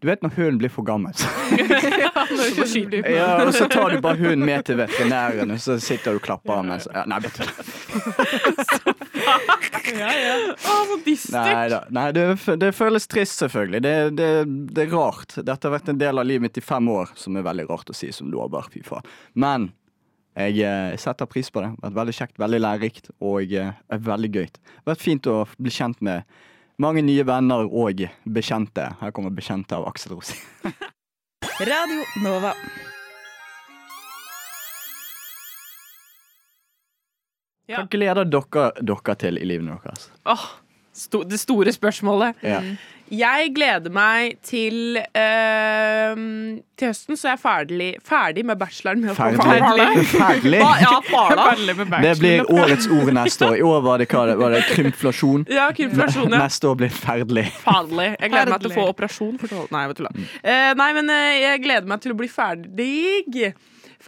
Du vet når hunden blir for gammel. Ja, og så tar du bare hunden med til veterinæren, og så sitter du og klapper mens ja, Nei, vet du.
Ja, ja. Å, så dystert.
Nei da. Nei, det, fø- det føles trist, selvfølgelig. Det, det, det er rart. Dette har vært en del av livet mitt i fem år, som er veldig rart å si som blåbær. Fy faen. Men jeg eh, setter pris på det. Det har vært veldig kjekt, veldig lærerikt og eh, er veldig gøy. Det har vært fint å bli kjent med mange nye venner og bekjente. Her kommer bekjente av Aksel Rosin.
Radio Nova.
Hva gleder dere dere til i livet deres?
Åh, sto, det store spørsmålet.
Ja.
Mm.
Jeg gleder meg til øhm, Til høsten så er jeg ferdig, ferdig med bacheloren. Med å få
Ferdig?
farla.
Ferdig?
Hva- Ja, farla.
Det blir årets ord neste år. I år var det, hva, var det krymflasjon.
Ja, krymflasjon, ja.
Neste år blir ferdelig.
Farlig. Jeg gleder meg til å få
Herlig.
operasjon for tolv Nei, jeg tulla.
Mm.
Eh, nei, men eh, jeg gleder meg til å bli ferdig.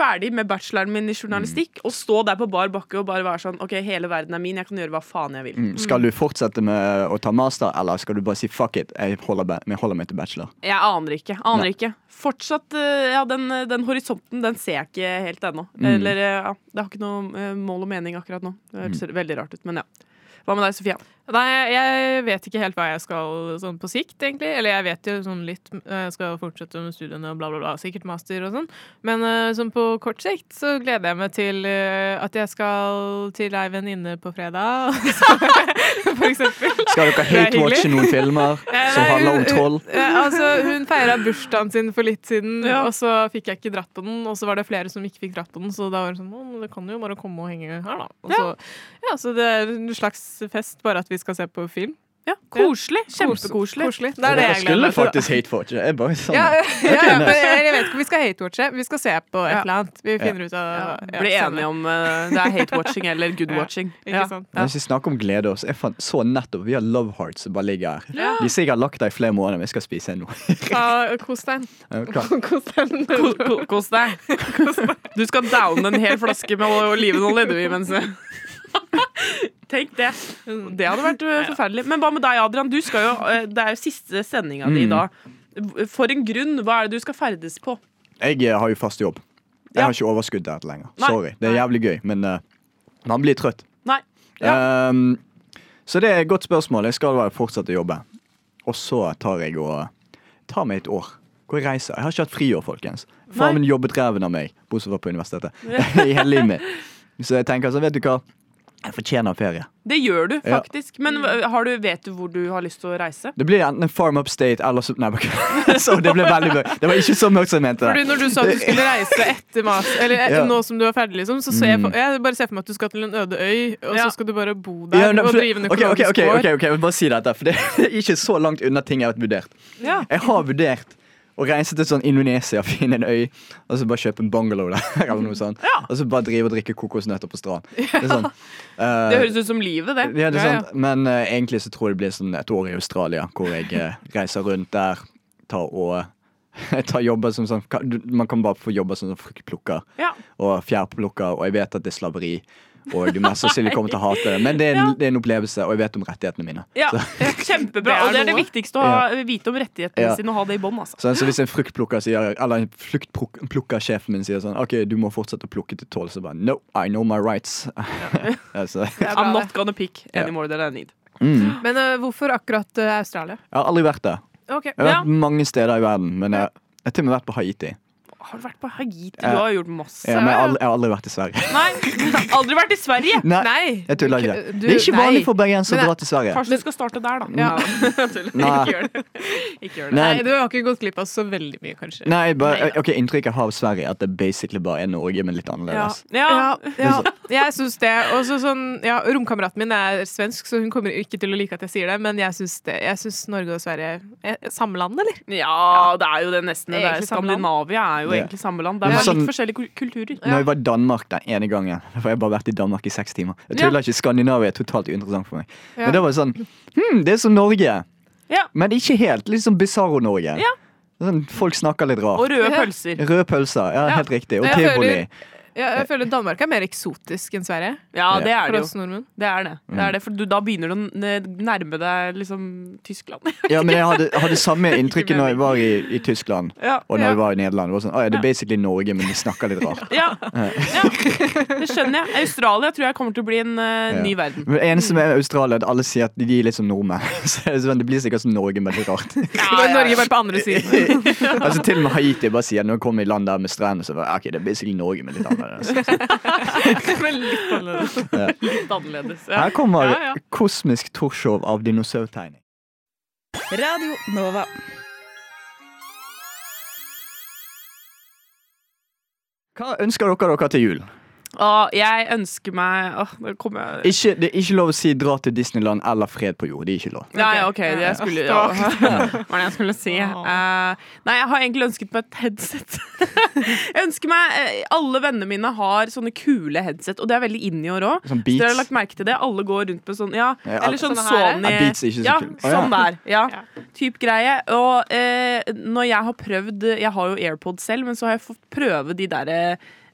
Ferdig med bacheloren min i journalistikk og stå der på bar bakke og bare være sånn OK, hele verden er min, jeg kan gjøre hva faen jeg vil.
Mm. Skal du fortsette med å ta master, eller skal du bare si fuck it, jeg holder, ba- jeg holder meg til bachelor?
Jeg aner ikke. aner
Nei.
ikke Fortsatt eh, Ja, den, den horisonten, den ser jeg ikke helt ennå.
Mm.
Eller eh, ja, Det har ikke noe eh, mål og mening akkurat nå. Det høres
Mm.
veldig rart ut, men ja. Hva med deg, Sofia?
Nei, jeg vet ikke helt hva jeg skal sånn på sikt, egentlig. Eller jeg vet jo sånn litt eh, Jeg skal fortsette med studiene og bla, bla, bla. Sikkert master og sånn. Men eh, sånn på kort sikt så gleder jeg meg til eh, at jeg skal til ei venninne på fredag.
Skal dere
Det er hyggelig.
hate-watche noen filmer som handler om troll?
Ja, altså, hun feira bursdagen sin for litt siden,
Ja.
og så fikk jeg ikke dratt på den. Og så var det flere som ikke fikk dratt på den, så da var det sånn «Å, men Du kan jo bare komme og henge her, da. Og så, ja. så det er en slags fest, bare at vi skal se på film.
Ja, Koselig. Kjempekoselig.
Koselig. Det er det jeg gleder
skulle
meg til.
faktisk hate-watche. Jeg bare sånn.
Ja, ja, ja, men jeg vet ikke om vi skal hate-watche. Vi skal se på et
Ja.
eller annet. Vi
Ja.
finner ut av ja,
Bli
senere.
enige om eh, det er hate-watching eller good-watching.
Ikke sant?
Men Hvis vi snakker om glede også, jeg fant, så nettopp vi har Love Hearts som bare ligger her.
Ja.
De har sikkert lagt der i flere måneder, men jeg skal spise en nå.
Ta- Kos deg.
Er du klar?
Kos deg.
Ko- ko- Kos deg. Du skal downe en hel flaske med olivenolje, du, imens. Tenk det. Det hadde vært eh, forferdelig. Men hva med deg, Adrian? Du skal jo, eh, det er jo siste sendinga di
Mm.
da. For en grunn. Hva er det du skal ferdes på?
Jeg eh, har jo fast jobb. Jeg har ikke overskudd der lenger.
Nei.
Sorry. Det er jævlig gøy, men eh, man blir trøtt.
Nei.
Ehm, så det er et godt spørsmål. Jeg skal bare fortsette å jobbe. Og så tar jeg og eh, tar meg et år hvor jeg reiser. Jeg har ikke hatt friår, folkens. Faren
Nei.
min jobbet ræven av meg, bortsett fra på universitetet. I hele livet mitt. Så jeg tenker altså, vet du hva? Jeg fortjener ferie.
Det gjør du
Ja.
faktisk. Men hva- har du, vet du hvor du har lyst til å reise?
Det blir enten en Farm Up State eller så Nei, bare- så det ble veldig mørkt. Det var ikke så mørkt som jeg mente
Fordi
det.
når du sa at du skulle reise etter mas, eller eh,
Ja.
nå som du er ferdig, liksom, så ser jeg, for,
Mm.
jeg bare ser for meg at du skal til en øde øy, og så skal du bare bo der
Ja, nei,
og
for-
drive en
ok, ok,
økologisk
ok,
gård.
ok, ok, jeg vil bare si dette, for det er ikke så langt unna ting jeg har vurdert.
Ja.
Jeg har vurdert å reise til sånn Indonesia, finne en øy, og så bare kjøpe en bungalow der. Eller noe sånt. Og så bare drive og drikke kokosnøtter på stranden. Det, er sånn, eh,
Det høres ut som livet, det.
ja, det er
Ja, ja.
sant. Men eh, egentlig så tror jeg det blir sånn et år i Australia, hvor jeg eh, reiser rundt der, tar og tar jobber som sånn ka- du- Man kan bare få jobber som sånn fruktplukker
Ja.
og fjærplukker, og jeg vet at det er slaveri. Og mest sannsynlig kommer til å hate det. Men det er, en, det er en opplevelse, og jeg vet om rettighetene mine.
Ja,
Så,
Kjempebra. og det er det
noe.
viktigste å ha, vite om rettighetene
Ja.
sine og ha det i bånn. Altså.
sånn, så hvis en fruktplukker sier Eller en fruktplukkersjefen min sier sånn OK, du må fortsette å plukke til tolv, så bare No, I know my rights. altså,
I'm not gonna pick any
Ja.
more than I need.
mm.
Men eh, hvorfor akkurat eh, Australia?
Jeg har aldri vært der.
Ok,
Jeg har
ja.
vært mange steder i verden, men jeg, jeg har til og med vært på Haiti.
Har du vært på Hagiti? Du
Ja.
har gjort masse.
Ja, men jeg har aldri, jeg har aldri vært i Sverige.
Nei, aldri vært i Sverige!
Nei, jeg tuller ikke. Det er ikke vanlig for bergensere å dra til Sverige.
Kanskje du skal starte der, da.
Ja.
Jeg tuller.
Nei.
Ikke gjør det. Ikke gjør det.
Nei. Nei,
Du har ikke gått glipp av så veldig mye, kanskje.
Nei, bare, ok, Inntrykket jeg har av Sverige, er at det basically bare er Norge, men litt annerledes.
Ja, ja, jeg syns det. Og så sånn, ja, romkameraten min er svensk, så hun kommer ikke til å like at jeg sier det, men jeg syns det. Jeg syns Norge og Sverige er samme land, eller?
Ja, det er jo det nesten. Det er
Egentlig samme land.
Skandinavia er jo
Ja.
egentlig samme land. Det er
Men
bare
sånn-
litt forskjellige kul- kulturer.
Når jeg var i Danmark den ene gangen For jeg har bare vært i Danmark i seks timer. Jeg tuller
Ja.
ikke, Skandinavia er totalt uinteressant for meg.
Ja.
Men det var sånn Hm, det er som Norge,
Ja.
men ikke helt. Litt sånn Bizarro-Norge.
Ja.
Sånn, folk snakker litt rart.
Og røde pølser.
Røde pølser, ja, Helt riktig. Og
Jeg
tivoli.
Ja, jeg føler Danmark er mer eksotisk enn Sverige.
Ja, det er
For
det
oss
jo.
nordmenn.
Det er det. det,
Mm.
er det for du, da begynner du å n- nærme deg liksom Tyskland.
Ja, men jeg hadde, jeg hadde samme inntrykket når jeg var i, i Tyskland
Ja,
og når
ja.
jeg var i Nederland. Det var sånn, «Å ja, det er basically Norge, men de snakker litt rart.
Ja,
Ja.
det skjønner jeg. Australia tror jeg kommer til å bli en eh, ny verden.
Men det eneste med Australia er at alle sier at de er litt som nordmenn. Så er det sånn, det blir sikkert som Norge, men det er rart.
Norge bare på andre siden.
altså Til og med Haiti bare sier når jeg kommer i land der med strender, så bare, ok, det er basically Norge, men litt annerledes.
Men litt annerledes.
Ja.
Litt annerledes. ja.
Her kommer
Ja, ja.
kosmisk torshow av dinosaurtegning.
Radio Nova.
Hva ønsker dere dere til jul?
Å, jeg ønsker meg Åh, nå kommer jeg
Ikke, det er ikke lov å si 'dra til Disneyland' eller 'fred på jord'. Det er ikke lov.
Nei, OK, det jeg skulle ja.
Ja.
Hva var det jeg skulle si? Eh, nei, jeg har egentlig ønsket meg et headset. jeg ønsker meg eh, Alle vennene mine har sånne kule headset, og det er veldig inn i år òg.
Sånn Beats.
Dere har lagt merke til det? Alle går rundt med sånn Ja,
Ja,
eller sånn
sånne her.
Sony
Ja, Beats er ikke så
Ja,
kul. Å, ja.
sånn der. Ja. Typ greie. Og eh, når jeg har prøvd Jeg har jo AirPod selv, men så har jeg fått prøve de derre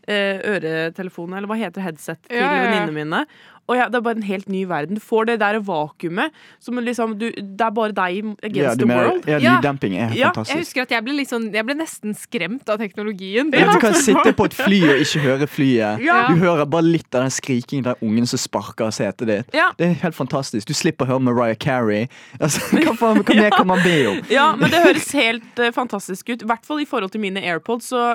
eh, øretelefonene, eller hva heter headset, til
Ja, ja, ja.
venninnene mine. Og ja, Det er bare en helt ny verden. Du får det der vakuumet som liksom du, Det er bare deg against
Ja, du
the
mener-
world.
ja,
Ja.
lyddamping er
Ja,
Jeg
fantastisk.
husker at jeg ble, litt sånn, jeg ble nesten skremt av teknologien.
Ja, Du kan sitte på et fly og ikke høre flyet.
Ja.
Du hører bare litt av den skrikingen der ungen som sparker setet ditt.
Ja.
Det er helt fantastisk. Du slipper å høre Mariah Carey. Altså, hva faen hva mer kan man be om?
Ja, men det høres helt eh, fantastisk ut. I hvert fall i forhold til mine AirPods. Så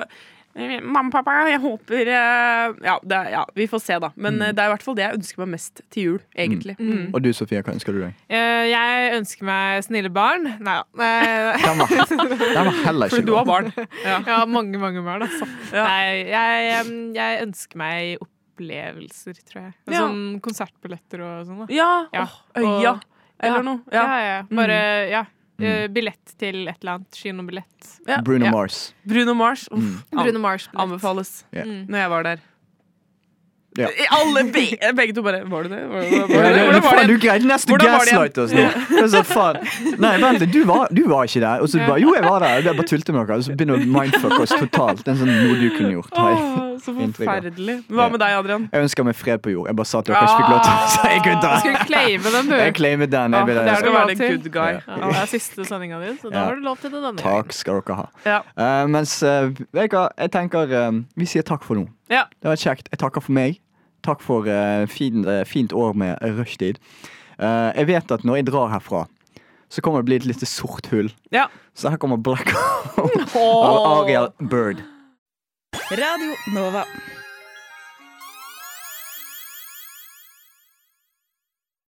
eh, mamma og pappa, jeg håper eh, ja, det, er- ja, vi får se, da. Men eh, det er i hvert fall det jeg ønsker meg mest til jul, egentlig. Mm.
Og du Sofia, hva ønsker du deg?
Eh, Jeg ønsker meg snille barn. Eh, Nei da.
Den var, den var heller ikke
Fordi du
lov.
har barn. Ja, mange, mange barn, altså. Nei, jeg, em, jeg ønsker meg opplevelser, tror jeg.
Ja.
Sånn konsertbilletter og sånn. da.
Ja, åh, øya,
og-
eller
ja,
noe. Ja.
Ja,
Mm.
ja. ja. Bare, ja. eh, Billett til et eller annet. Kinobillett.
Mm. Bruno
Ja.
Mars.
Bruno Mars. Uff.
Mm.
An-
Bruno Mars.
Anbefales.
Ja.
Mm.
Når jeg var der.
Ja.
I Alle be begge to bare Var du det? Var det, var det,
Ja,
var det,
det-
var det,
faen, du greide nesten å
Hvordan var det
gaslighte oss nå. Altså, faen. Nei, vent litt, du var, du var ikke der. Og så du bare jo, jeg var der. Og jeg bare tulte med dere. Og så begynner du å mindfucke oss totalt. Det er sånn noe du kunne gjort. har jeg
Åh, så
inntrykk av.
forferdelig. Hva med deg, Adrian?
Jeg ønsker meg fred på jord. Jeg bare sa at dere ikke fikk lov til å si gutta.
Ah. Skulle claime den, du.
Jeg claimer den.
Ja,
Jeg vil,
det er du
Skal
lov
være
til.
good guy.
Ja, det er siste sendinga di, så da
Ja.
har du lov til det denne gangen.
Takk skal dere ha.
Ja.
Eh, mens eh, vet du hva, jeg tenker eh, Vi sier takk for nå.
Ja.
Det var kjekt. Jeg takker for meg. Takk for eh, fin, eh, fint år med rushtid. Eh, jeg vet at når jeg drar herfra, så kommer det bli et lite sort hull.
Ja.
Så her kommer Black Hole
Åh.
av Ariel Bird.
Radio Nova.